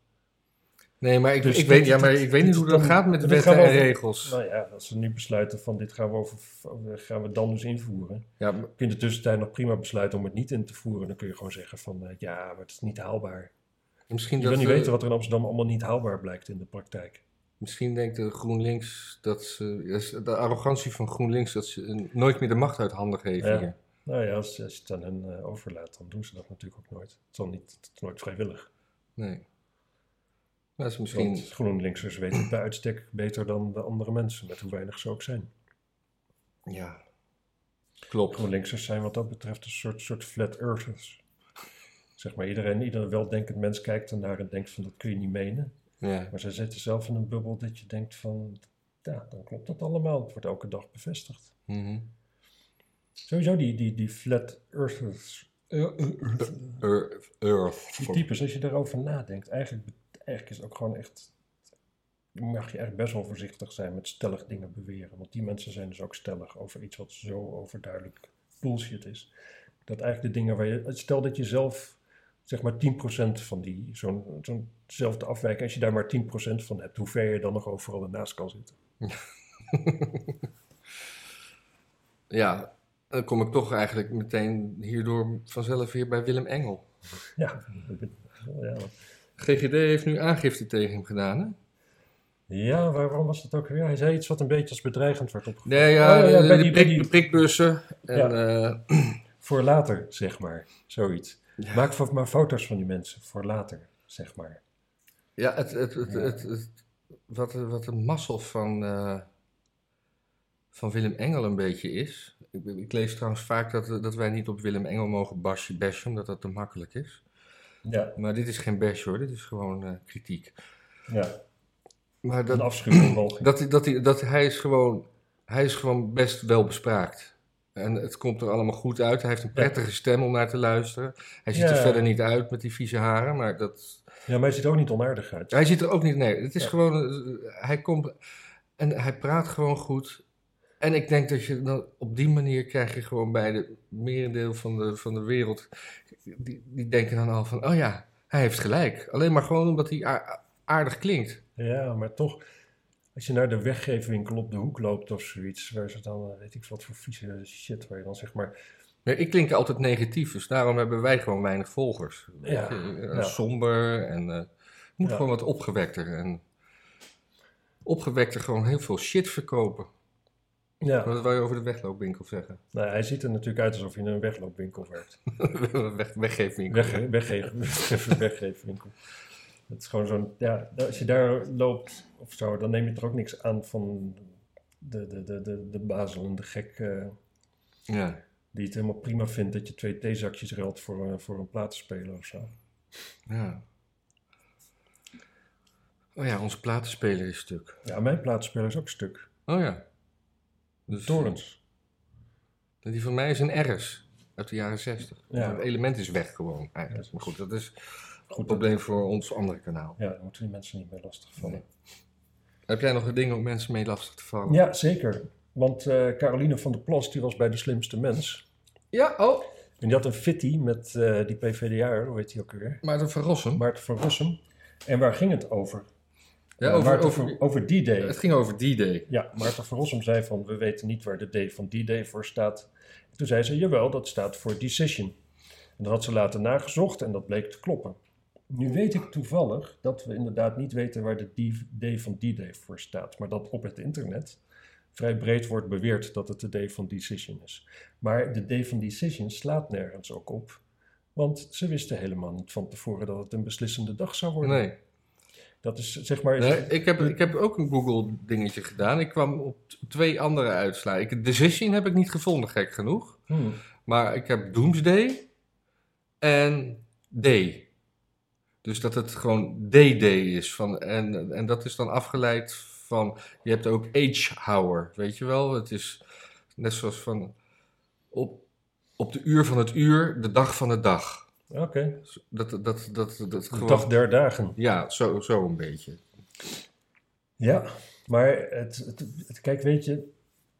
Nee, maar ik, Dus ik, dit- weet, ja, maar dit- ik weet niet dit- hoe dat dan- gaat met dit wetten gaan we en over- regels. Nou ja, als ze nu besluiten van dit gaan we, over, gaan we dan dus invoeren. Ja, maar- Kun je in de tussentijd nog prima besluiten om het niet in te voeren. Dan kun je gewoon zeggen van eh, ja, maar het is niet haalbaar. misschien, Je wil dat, niet eh, weten wat er in Amsterdam allemaal niet haalbaar blijkt in de praktijk. misschien denkt de GroenLinks dat ze. dat is De arrogantie van GroenLinks dat ze eh, nooit meer de macht uit handen geven. Ja. hier. Nou ja, als, als je het aan hen eh, overlaat, dan doen ze dat natuurlijk ook nooit. Het is, dan niet, het is nooit vrijwillig. Nee. Dat is misschien. Want GroenLinksers weten het bij uitstek beter dan de andere mensen, met hoe weinig ze ook zijn. Ja. Klopt. GroenLinksers zijn wat dat betreft een soort, soort flat earthers. Zeg maar, iedereen, ieder weldenkend mens kijkt ernaar en denkt van dat kun je niet menen. Ja. Maar ze zitten zelf in een bubbel dat je denkt van, ja, dan klopt dat allemaal. Het wordt elke dag bevestigd. Mhm. Sowieso die, die, die flat earthers, Earth. Earth. die types, als je daarover nadenkt, eigenlijk, bet- eigenlijk is het ook gewoon echt, mag je echt best wel voorzichtig zijn met stellig dingen beweren. Want die mensen zijn dus ook stellig over iets wat zo overduidelijk bullshit is. Dat eigenlijk de dingen waar je. Stel dat je zelf zeg maar 10% van die, zo'n, zo'nzelfde afwijking, als je daar maar 10% van hebt, hoe ver je dan nog overal ernaast kan zitten. Ja, dan kom ik toch eigenlijk meteen hierdoor vanzelf weer bij Willem Engel. Ja, ik ben- ja. GGD heeft nu aangifte tegen hem gedaan, hè? ja waarom was dat ook weer? Hij zei iets wat een beetje als bedreigend werd opgevat. Nee, ja, Oh, ja, ja, de- bij de, die- prik- bij die- de prikbussen. En, eh, Voor later, zeg maar. Zoiets. Maak vo- maar foto's van die mensen. Voor later, zeg maar. ja, het, het, het, het, het- wat, wat een mazzel van, eh, van Willem Engel een beetje is. Ik, ik lees trouwens vaak dat, dat wij niet op Willem Engel mogen basje bashen, omdat dat te makkelijk is. Ja, Maar dit is geen bash hoor, dit is gewoon eh, kritiek. ja. Maar dat, Een afschuwing. Dat, hij- dat, hij- dat hij, is gewoon, hij is gewoon best wel bespraakt. En het komt er allemaal goed uit. Hij heeft een prettige stem om naar te luisteren. Hij ziet er Ja. verder niet uit met die vieze haren, maar dat... Ja, maar hij ziet er ook niet onaardig uit. Hij ziet er ook niet... Nee, het is Ja. gewoon... eh, Hij komt... En hij praat gewoon goed. En ik denk dat je dan op die manier krijg je gewoon bij de merendeel van de, van de wereld... Die, die denken dan al van, oh ja, hij heeft gelijk. Alleen maar gewoon omdat hij a- aardig klinkt. Ja, maar toch, als je naar de weggeefwinkel op de hoek loopt of zoiets, waar ze dan, eh, weet ik wat voor vieze shit, waar je dan zeg maar, Nee, ik klink altijd negatief, dus daarom hebben wij gewoon weinig volgers. Ja, Eh, ja. Somber en eh, het moet Ja. gewoon wat opgewekter. En opgewekter gewoon heel veel shit verkopen. ja, Wat wil je over de wegloopwinkel zeggen? nou, hij ziet er natuurlijk uit alsof je in een wegloopwinkel werkt. (laughs) Weg, weggeefwinkel. Wegge weggeven, (laughs) weggeefwinkel. Het is gewoon zo'n, ja, als je daar loopt of zo, dan neem je er ook niks aan van de, de, de, de, de bazelende gek eh, Ja. die het helemaal prima vindt dat je twee theezakjes ruilt voor, eh, voor een platenspeler of zo. ja. Oh ja, onze platenspeler is stuk. Ja, mijn platenspeler is ook stuk. Oh ja. Dus, Torens. Die van mij is een RS uit de jaren 60. Ja. Het element is weg gewoon eigenlijk. Maar goed, dat is een probleem voor ons andere kanaal. Ja, daar moeten die mensen niet meer lastigvallen. Heb jij nog een ding om mensen mee lastig te vallen? Ja, zeker. Want eh, Caroline van der Plas, die was bij de slimste mens. Ja, oh. En die had een fitty met eh, die PVDA, hoe heet die ook weer? Maarten van Rossum. Maarten van Rossum. En waar ging het over? Ja, Eh, over, Maarten over, van- over die day. het ging over die day. Ja, Maarten van Rossum zei van, we weten niet waar de D van die day voor staat. En toen zei ze, jawel, dat staat voor decision. En dat had ze later nagezocht en dat bleek te kloppen. Nu weet ik toevallig dat we inderdaad niet weten waar de D- D van die day voor staat. Maar dat op het internet vrij breed wordt beweerd dat het de D van decision is. Maar de D van decision slaat nergens ook op. Want ze wisten helemaal niet van tevoren dat het een beslissende dag zou worden. Nee. Dat is zeg maar... Nee, ik, heb, ik heb ook een Google dingetje gedaan. Ik kwam op t- twee andere uitslaan. Ik, Decision heb ik niet gevonden, gek genoeg. Hmm. Maar ik heb Doomsday en Day. Dus dat het gewoon DD is. Van, en, en dat is dan afgeleid van... Je hebt ook Age Hour, weet je wel? Het is net zoals van... Op, op de uur van het uur, de dag van de dag. Oké, Dat, dat, dat, dat, dat de gewoon... dag der dagen. Ja, zo, zo een beetje. Ja, maar het, het, het- kijk, weet je,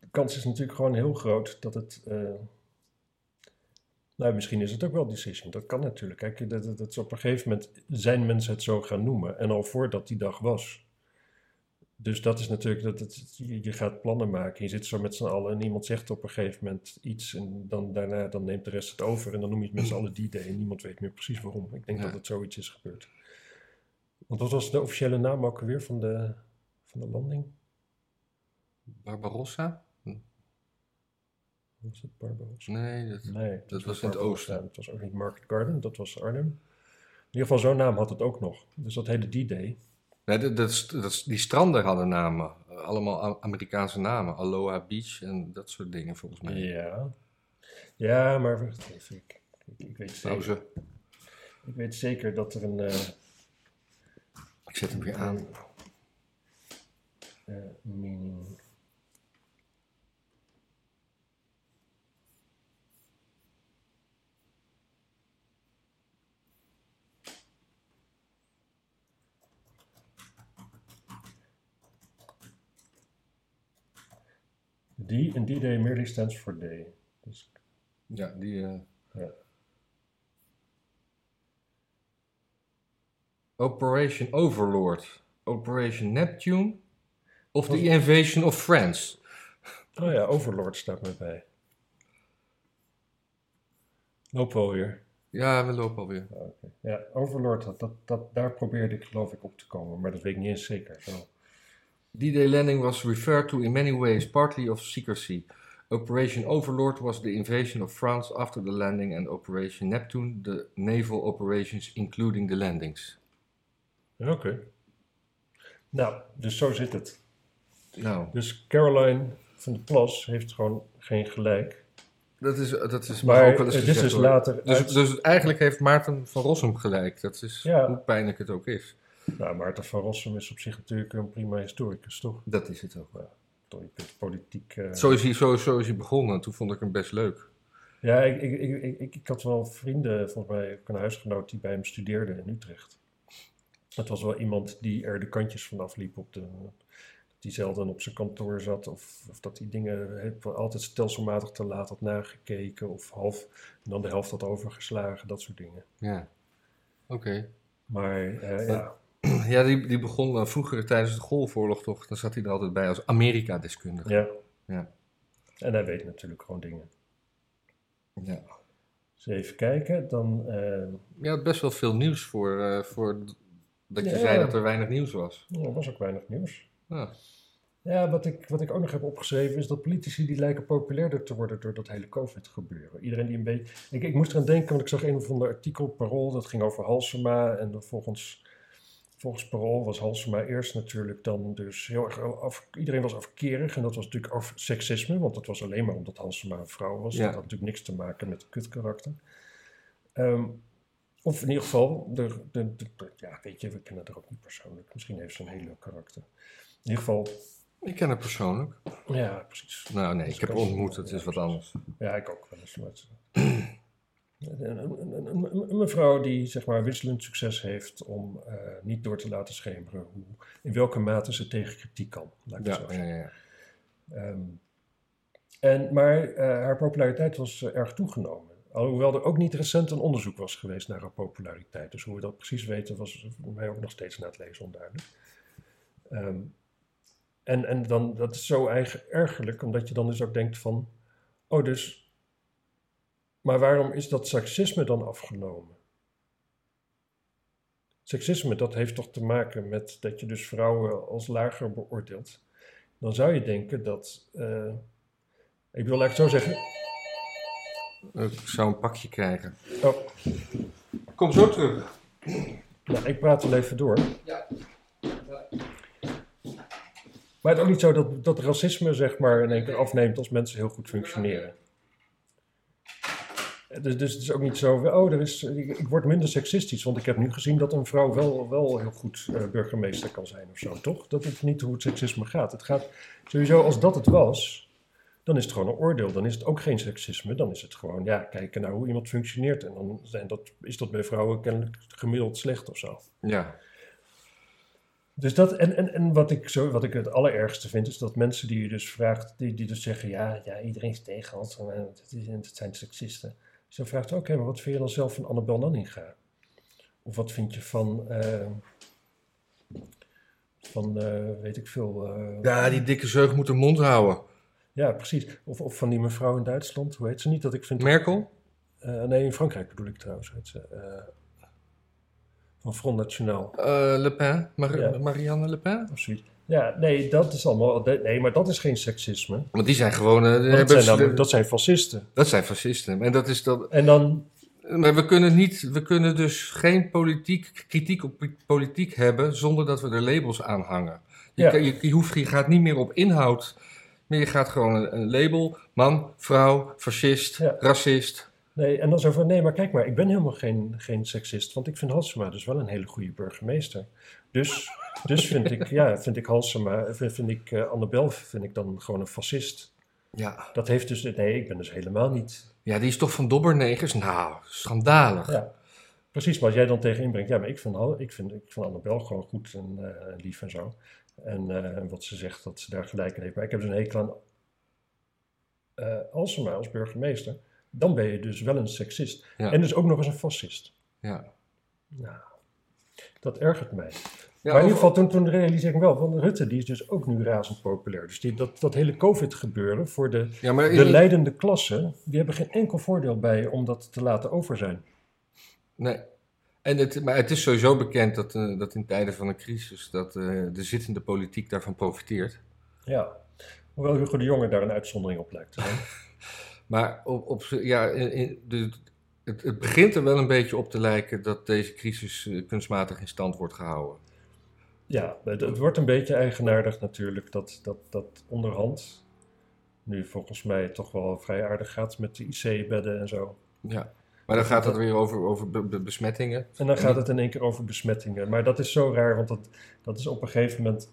de kans is natuurlijk gewoon heel groot dat het. eh, nou, misschien is het ook wel decision. Dat kan natuurlijk. Kijk, dat, dat, dat is op een gegeven moment zijn mensen het zo gaan noemen. En al voordat die dag was. Dus dat is natuurlijk, dat het, je, je gaat plannen maken. Je zit zo met z'n allen en iemand zegt op een gegeven moment iets. En dan, daarna dan neemt de rest het over. En dan noem je het met z'n allen die day. En niemand weet meer precies waarom. Ik denk Ja. dat het zoiets is gebeurd. Want wat was de officiële naam ook weer van de, van de landing? Barbarossa? Was het Barbaros? Nee, dat... Nee, was in het Barbarossa. oosten. Dat was ook niet Market Garden, dat was Arnhem. In ieder geval, zo'n naam had het ook nog. Dus dat hele D-Day. Nee, dat, dat, is- dat is- die stranden hadden namen. Allemaal A- Amerikaanse namen. Aloha Beach en dat soort dingen volgens mij. Ja. Ja, maar wacht even. Ik, ik, ik weet zeker, Pauze. ik weet zeker dat er een. eh, Ik zet hem weer aan. eh, meaning. D en D-Day merely stands for day. Dus Ja, die. eh, Ja. Operation Overlord, Operation Neptune of The Invasion of France. Oh ja, Overlord staat me bij. Loop wel weer. Ja, we lopen alweer. Ja, Overlord, dat, dat, dat, daar probeerde ik geloof ik op te komen, maar dat weet ik niet eens zeker. Zo. D-Day landing was referred to in many ways, partly of secrecy. Operation Overlord was the invasion of France after the landing, and Operation Neptune, the naval operations including the landings. Oké. Nou, dus zo zit het. Nou, Dus Caroline van de Plas heeft gewoon geen gelijk. dat is, dat is Maar ook wel eens eh, dit gezegd, is hoor. later. Dus, uit- dus eigenlijk heeft Maarten van Rossum gelijk. Dat is Ja. hoe pijnlijk het ook is. Nou, Maarten van Rossum is op zich natuurlijk een prima historicus, toch? Dat is het ook. Toch, Je kunt politiek. eh, Zo is hij, zo, zo is hij begonnen. Toen vond ik hem best leuk. Ja, ik, ik, ik, ik- ik, ik had wel vrienden, volgens mij ook een huisgenoot die bij hem studeerde in Utrecht. Het was wel iemand die er de kantjes van afliep op de. Die zelden op zijn kantoor zat, of, of dat hij dingen heel- altijd stelselmatig te laat had nagekeken, of half en dan de helft had overgeslagen, dat soort dingen. Ja. Oké. Maar eh, ja, Ja, die, die begon eh, vroeger tijdens de Golfoorlog toch. Dan zat hij er altijd bij als Amerika-deskundige. ja. Ja. En hij weet natuurlijk gewoon dingen. Ja. Dus even kijken, dan. eh, Je had best wel veel nieuws voor, eh, voor d- dat je Ja. zei dat er weinig nieuws was. nou, er was ook weinig nieuws. Ja. Ja, wat ik, wat ik ook nog heb opgeschreven is dat politici die lijken populairder te worden door dat hele COVID-gebeuren. Iedereen die een beetje. Ik, ik moest eraan denken, want ik zag een of ander artikel op Parool, dat ging over Halsema. En dan volgens, volgens Parool was Halsema eerst natuurlijk dan dus heel erg af. Iedereen was afkerig en dat was natuurlijk af, seksisme, want dat was alleen maar omdat Halsema een vrouw was. Ja. Dat had natuurlijk niks te maken met kutkarakter. Ehm, of in ieder geval, de, de, de- de- ja, weet je, we kennen haar ook niet persoonlijk. Misschien heeft ze een heel leuk karakter. In ieder geval, Ik ken hem persoonlijk. ja, precies. Nou nee, ik heb hem ontmoet. Het Ja, is wat anders. Ja, ik ook wel eens. maar het- Een, een, een- een- een mevrouw die zeg maar wisselend succes heeft om eh, niet door te laten schemeren hoe, in welke mate ze tegen kritiek kan. Laat ik het Ja, zo ja, zeggen. ja. ja. Ehm, en, maar eh, haar populariteit was eh, erg toegenomen. Alhoewel er ook niet recent een onderzoek was geweest naar haar populariteit. Dus hoe we dat precies weten was voor mij ook nog steeds na het lezen onduidelijk. Ehm, en en dan, dat is zo eigen, ergerlijk, omdat je dan dus ook denkt van... Oh, dus... Maar waarom is dat seksisme dan afgenomen? Seksisme, dat heeft toch te maken met dat je dus vrouwen als lager beoordeelt dan zou je denken dat. eh, ik wil eigenlijk zo zeggen. Ik zou een pakje krijgen. Oh, Kom zo terug. nou, ik praat wel even door. Ja. Maar het is ook niet zo dat, dat racisme zeg maar in één keer afneemt als mensen heel goed functioneren. Dus, dus het is ook niet zo, oh, er is, ik, ik word minder seksistisch, want ik heb nu gezien dat een vrouw wel, wel heel goed eh, burgemeester kan zijn of zo, toch? Dat is niet hoe het seksisme gaat. Het gaat sowieso, als dat het was, dan is het gewoon een oordeel. Dan is het ook geen seksisme, dan is het gewoon, ja, kijken naar hoe iemand functioneert. En dan zijn dat, is dat bij vrouwen kennelijk gemiddeld slecht of zo. Ja. Dus dat, en, en, en wat, ik zo, wat ik het allerergste vind, is dat mensen die je dus vraagt, die, die dus zeggen, ja, ja iedereen is tegen ons, en, eh, het, is- het zijn seksisten. Dus dan vraagt, oké, maar wat vind je dan zelf van Annabel Nanninga? Of wat vind je van, eh, van eh, weet ik veel, eh, ja. Ja, die dikke zeug moet de mond houden. precies, of, of van die mevrouw in Duitsland, hoe heet ze niet, dat ik vind... Merkel? eh, nee, in Frankrijk bedoel ik trouwens, heet ze, eh, van Front National. Eh, Le Pen? Mar- Ja. Marianne Le Pen? Of zoiets. Ja, nee, dat is allemaal. Nee, maar dat is geen seksisme. Want die zijn gewoon... eh, hebben Want Dat ze- zijn, dan, dat zijn fascisten. dat zijn fascisten. En dat is dat... En dan, Maar we kunnen, niet, we kunnen dus geen politiek, kritiek op pi- politiek hebben zonder dat we er labels aan hangen. Je, Ja. kan- je, je hoeft, je gaat niet meer op inhoud, maar je gaat gewoon een, een label. Man, vrouw, fascist, Ja. racist. nee, en dan zo van, nee, maar kijk maar, ik ben helemaal geen, geen seksist, want ik vind Halsema dus wel een hele goede burgemeester. Dus, dus vind ik, ja, vind ik Halsema, eh, vind, vind ik eh, Annabel, vind ik dan gewoon een fascist. Ja. Dat heeft dus, nee, ik ben dus helemaal niet. ja, die is toch van dobbernegers? Nou, schandalig. Ja. Precies, wat jij dan tegen inbrengt, ja, maar ik vind, Hal- ik vind, ik vind Annabel gewoon goed en eh, lief en zo. En eh, wat ze zegt, dat ze daar gelijk in heeft. Maar ik heb dus een hekel aan eh Halsema als burgemeester. dan ben je dus wel een seksist. Ja. En dus ook nog eens een fascist. Ja. Nou, dat ergert mij. Ja, maar in over- ieder geval, toen, toen realiseer ik wel, want Rutte die is dus ook nu razend populair. Dus die, dat, dat hele COVID-gebeuren voor de, ja, maar is de het- leidende klasse, die hebben geen enkel voordeel bij om dat te laten over zijn. Nee. En het, maar het is sowieso bekend dat, eh, dat in tijden van een crisis dat eh, de zittende politiek daarvan profiteert. Ja. Hoewel Hugo de Jonge daar een uitzondering op lijkt te zijn. Maar op, op, z'n- ja, in, in- de, het, het begint er wel een beetje op te lijken dat deze crisis eh, kunstmatig in stand wordt gehouden. Ja, het, het wordt een beetje eigenaardig natuurlijk dat, dat, dat onderhand nu volgens mij toch wel vrij aardig gaat met de IC-bedden en zo. Ja. Maar dan gaat het weer over, over be- be- besmettingen. En dan gaat het in één keer over besmettingen. Maar dat is zo raar, want dat, dat is op een gegeven moment.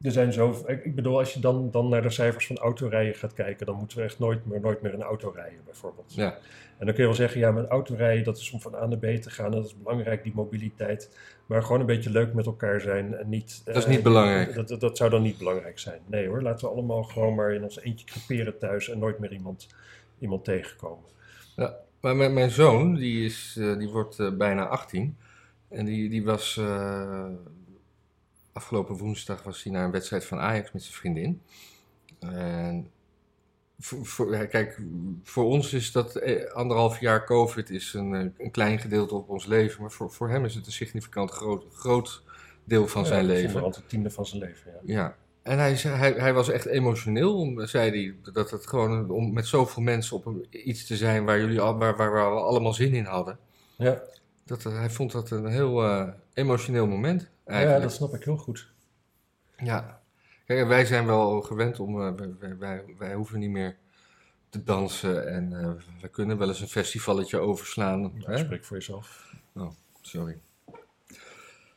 Er zijn zo. Ik ik bedoel, als je dan, dan naar de cijfers van autorijden gaat kijken, dan moeten we echt nooit meer, nooit meer een auto rijden, bijvoorbeeld. Ja. En dan kun je wel zeggen, ja, met autorijden, dat is om van A naar B te gaan. En dat is belangrijk, die mobiliteit. Maar gewoon een beetje leuk met elkaar zijn. En niet, Dat is eh, niet belangrijk. Dat, dat, dat zou dan niet belangrijk zijn. Nee hoor, laten we allemaal gewoon maar in ons eentje creperen thuis en nooit meer iemand, iemand tegenkomen. Maar mijn, mijn zoon, die, is, eh, die wordt eh, bijna 18. En die, die was. eh, afgelopen woensdag was hij naar een wedstrijd van Ajax met zijn vriendin. En. Voor, voor- ja, kijk, voor ons is dat eh, anderhalf jaar COVID is een, eh, een klein gedeelte op ons leven. Maar voor, voor hem is het een significant groot, groot deel van zijn leven. Onderhand het tiende van zijn leven, ja. Ja. En hij, zei- hij, hij was echt emotioneel, zei hij. Dat het gewoon een- om met zoveel mensen op een- iets te zijn waar, jullie al, waar, waar we allemaal zin in hadden. Ja, Dat, eh, hij vond dat een heel eh, emotioneel moment. ja, Eigenlijk. dat snap ik heel goed. Ja. Kijk, en wij zijn wel gewend om. eh, wij- wij, wij, wij hoeven niet meer te dansen. En eh we kunnen wel eens een festivalletje overslaan. Nou, hè? spreek voor jezelf. Sorry.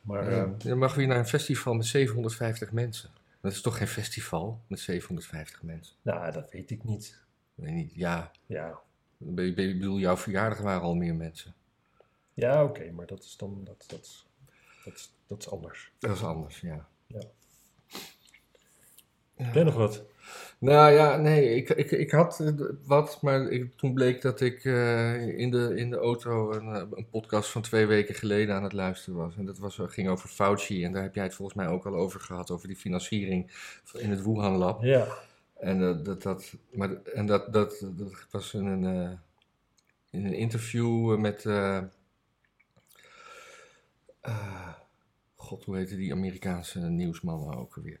Maar Ja. eh, Dan mag weer naar een festival met 750 mensen. Dat is toch geen festival met 750 mensen? nou, dat weet ik niet. Ik weet niet. Ja. Ja, Ik be- be- bedoel, jouw verjaardag waren al meer mensen. ja oké, maar dat is dan dat, dat, dat, is- dat is anders. Dat is anders, ja. Heb jij nog wat? Nou ja, nee, ik, ik, ik had eh, wat, maar ik, toen bleek dat ik eh, in, de, in de auto een, eh, een podcast van twee weken geleden aan het luisteren was. En dat was, eh, ging over Fauci en daar heb jij het volgens mij ook al over gehad, over die financiering in het Wuhan Lab. Ja, En, eh, dat, dat, maar, en dat, dat, dat was in een, eh, in een interview eh, met. eh, eh, God, hoe heette die Amerikaanse nieuwsman nou ook alweer?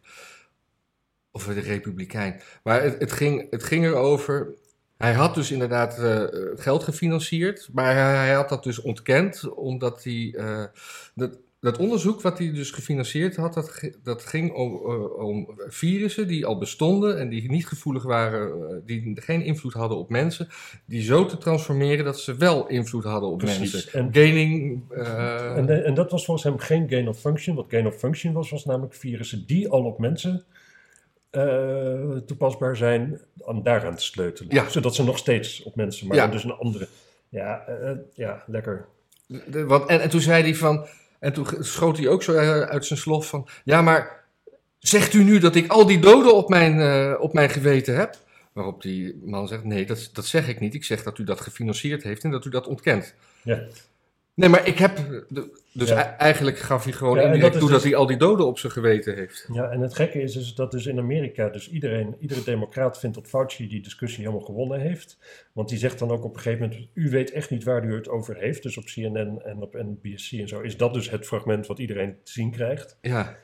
Of de Republikein. Maar het, het, ging, het ging erover. Hij had dus inderdaad eh, eh, geld gefinancierd, maar hij, hij had dat dus ontkend, omdat hij. eh, dat, dat onderzoek wat hij dus gefinancierd had, dat, ge- dat ging om, eh, om virussen die al bestonden en die niet gevoelig waren, eh, die geen invloed hadden op mensen, die zo te transformeren dat ze wel invloed hadden op Precies. mensen. En- Gaining. eh, en, en dat was volgens hem geen gain of function. Wat gain of function was, was namelijk virussen die al op mensen eh, toepasbaar zijn, om daaraan te sleutelen. Ja. Zodat ze nog steeds op mensen, maar Ja. dus een andere. Ja, eh, eh, ja, lekker. De- want, en, en toen zei hij van. En toen ge- schoot hij ook zo eh, uit zijn slof van. Ja, maar zegt u nu dat ik al die doden op mijn, eh, op mijn geweten heb? Waarop die man zegt: Nee, dat, dat zeg ik niet. Ik zeg dat u dat gefinancierd heeft en dat u dat ontkent. Ja. Nee, maar ik heb. de- dus Ja. ei- eigenlijk gaf hij gewoon Ja, en indirect dat is toe dat dus- hij al die doden op zijn geweten heeft. Ja, en het gekke is, is dat dus in Amerika dus iedereen, iedere democraat vindt dat Fauci die discussie helemaal gewonnen heeft. Want die zegt dan ook op een gegeven moment, u weet echt niet waar u het over heeft. Dus op CNN en op NBC en zo is dat dus het fragment wat iedereen te zien krijgt. Ja,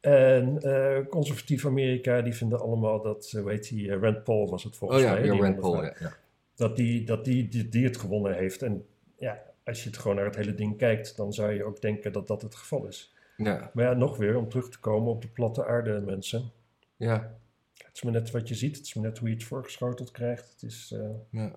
En eh, conservatief Amerika, die vinden allemaal dat, eh, hoe heet die, eh, Rand Paul was het oh volgens ja, mij. weer die Rand man Paul. dat- Ja, ja. Dat, die, dat die, die, die het gewonnen heeft. En ja, als je het gewoon naar het hele ding kijkt, dan zou je ook denken dat dat het geval is. Ja, Maar ja, nog weer, om terug te komen op de platte aarde mensen. ja, Het is maar net wat je ziet, het is maar net hoe je het voorgeschoteld krijgt. Het is, eh, ja.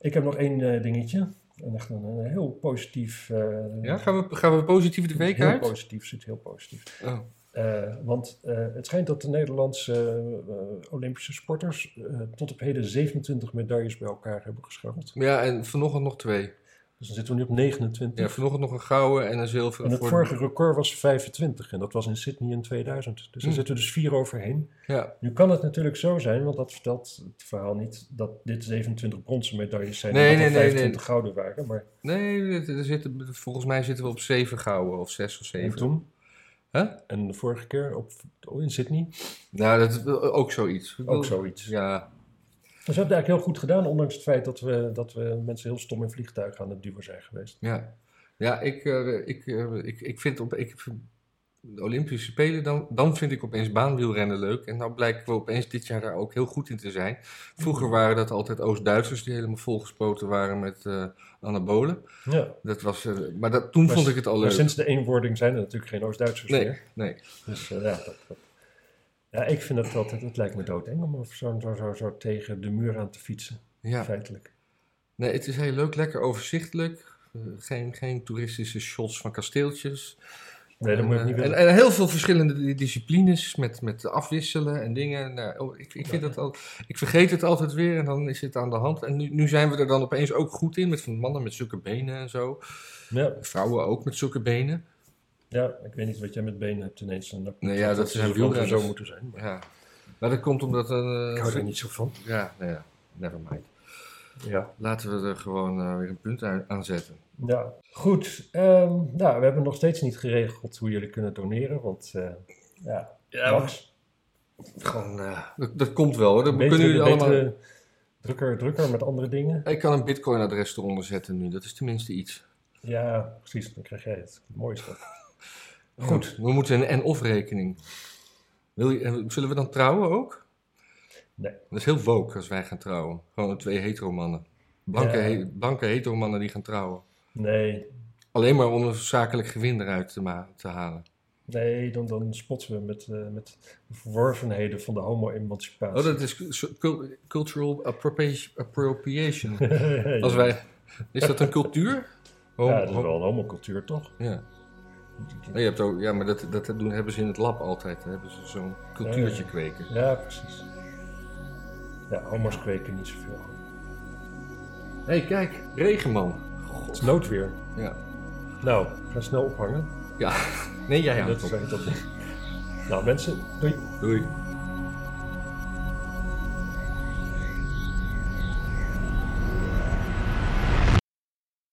Ik heb nog één eh, dingetje. En echt een, een heel positief. eh, Ja, gaan we, gaan we positief de week heel uit? positief, zit heel positief. Oh, Eh, want eh, het schijnt dat de Nederlandse eh, Olympische sporters eh, tot op heden 27 medailles bij elkaar hebben gescharreld. Ja, en vanochtend nog twee. Dus dan zitten we nu op 29. Ja, vanochtend nog een gouden en een zilveren. en het voor- vorige record was 25 en dat was in Sydney in 2000. Dus daar Hm. zitten we dus vier overheen. Ja, Nu kan het natuurlijk zo zijn, want dat vertelt het verhaal niet, dat dit 27 bronzen medailles zijn Nee, en dat nee, er nee, nee. 25 gouden waren. Maar nee, dit- er zitten, volgens mij zitten we op zeven gouden of zes of en zeven. toen, Huh? en de vorige keer op, oh, in Sydney, Nou, dat is ook zoiets. Ik bedoel- ook zoiets. Ja, Dus we hebben het eigenlijk heel goed gedaan, ondanks het feit dat we, dat we mensen heel stom in vliegtuigen aan het duwen zijn geweest. ja. Ja, ik, eh, ik, eh, ik, ik vind op, ik, vind de Olympische Spelen, dan, dan vind ik opeens baanwielrennen leuk. En nou blijken we opeens dit jaar daar ook heel goed in te zijn. Vroeger waren dat altijd Oost-Duitsers die helemaal volgespoten waren met eh, anabolen. Ja. Dat was, eh, maar dat, toen Maar vond s- ik het al Maar leuk. sinds de eenwording zijn er natuurlijk geen Oost-Duitsers nee, meer. nee. Dus eh, ja, dat, dat- ja, ik vind het altijd, het lijkt me doodeng om over zo, zo, zo, zo tegen de muur aan te fietsen, Ja. feitelijk. Nee, het is heel leuk, lekker overzichtelijk. Eh, geen, geen toeristische shots van kasteeltjes. Nee, dat moet ik En, niet eh, willen. En, en heel veel verschillende di- disciplines met, met afwisselen en dingen. Nou, oh, ik, ik, vind dat al, ik vergeet het altijd weer en dan is het aan de hand. En nu, nu zijn we er dan opeens ook goed in met van mannen met zulke benen en zo. Ja, Vrouwen ook met zulke benen. ja, ik weet niet wat jij met benen hebt ineens. En Nee, ja, dat zijn zou gewoon wielrenners. zo moeten zijn. Maar Ja. Maar dat komt omdat... eh, ik hou er niet zo van. ja, nou ja, never mind. Ja. Laten we er gewoon eh, weer een punt aan aan zetten. ja. Goed, ehm, nou, we hebben nog steeds niet geregeld hoe jullie kunnen doneren, want eh, ja, Max, Gewoon, eh, dat, dat komt wel hoor. Dat Betere- kunnen jullie allemaal... betere Drukker, drukker met andere dingen. Ik kan een bitcoin-adres eronder zetten nu, dat is tenminste iets. Ja, precies. Dan krijg jij het. Mooi (laughs) is dat. Goed. Ja, We moeten een en-of rekening. Wil je, en zullen we dan trouwen ook? Nee. Dat is heel woke als wij gaan trouwen. Gewoon twee heteromannen. Blanke, Ja. he- blanke heteromannen die gaan trouwen. Nee, Alleen maar om een zakelijk gewin eruit te, ma- te halen. nee dan, dan spotsen we met, eh, met de verworvenheden van de homo-emancipatie. (laughs) Oh, dat is cu- cul- cultural appropria- appropriation. (laughs) Als wij, is dat een cultuur? Oh, Ja, dat is oh, wel een homocultuur, toch? ja. Maar je hebt ook, ja, maar dat, dat doen, hebben ze in het lab altijd. Dan hebben ze zo'n cultuurtje kweken. Ja, precies. Ja, homo's kweken niet zoveel. Hé, hey, kijk, regenman. Het is noodweer. Ja. Nou, we gaan snel ophangen. Ja. (laughs) Nee, jij dat hangt is op. dat. Nou, mensen, doei. Doei.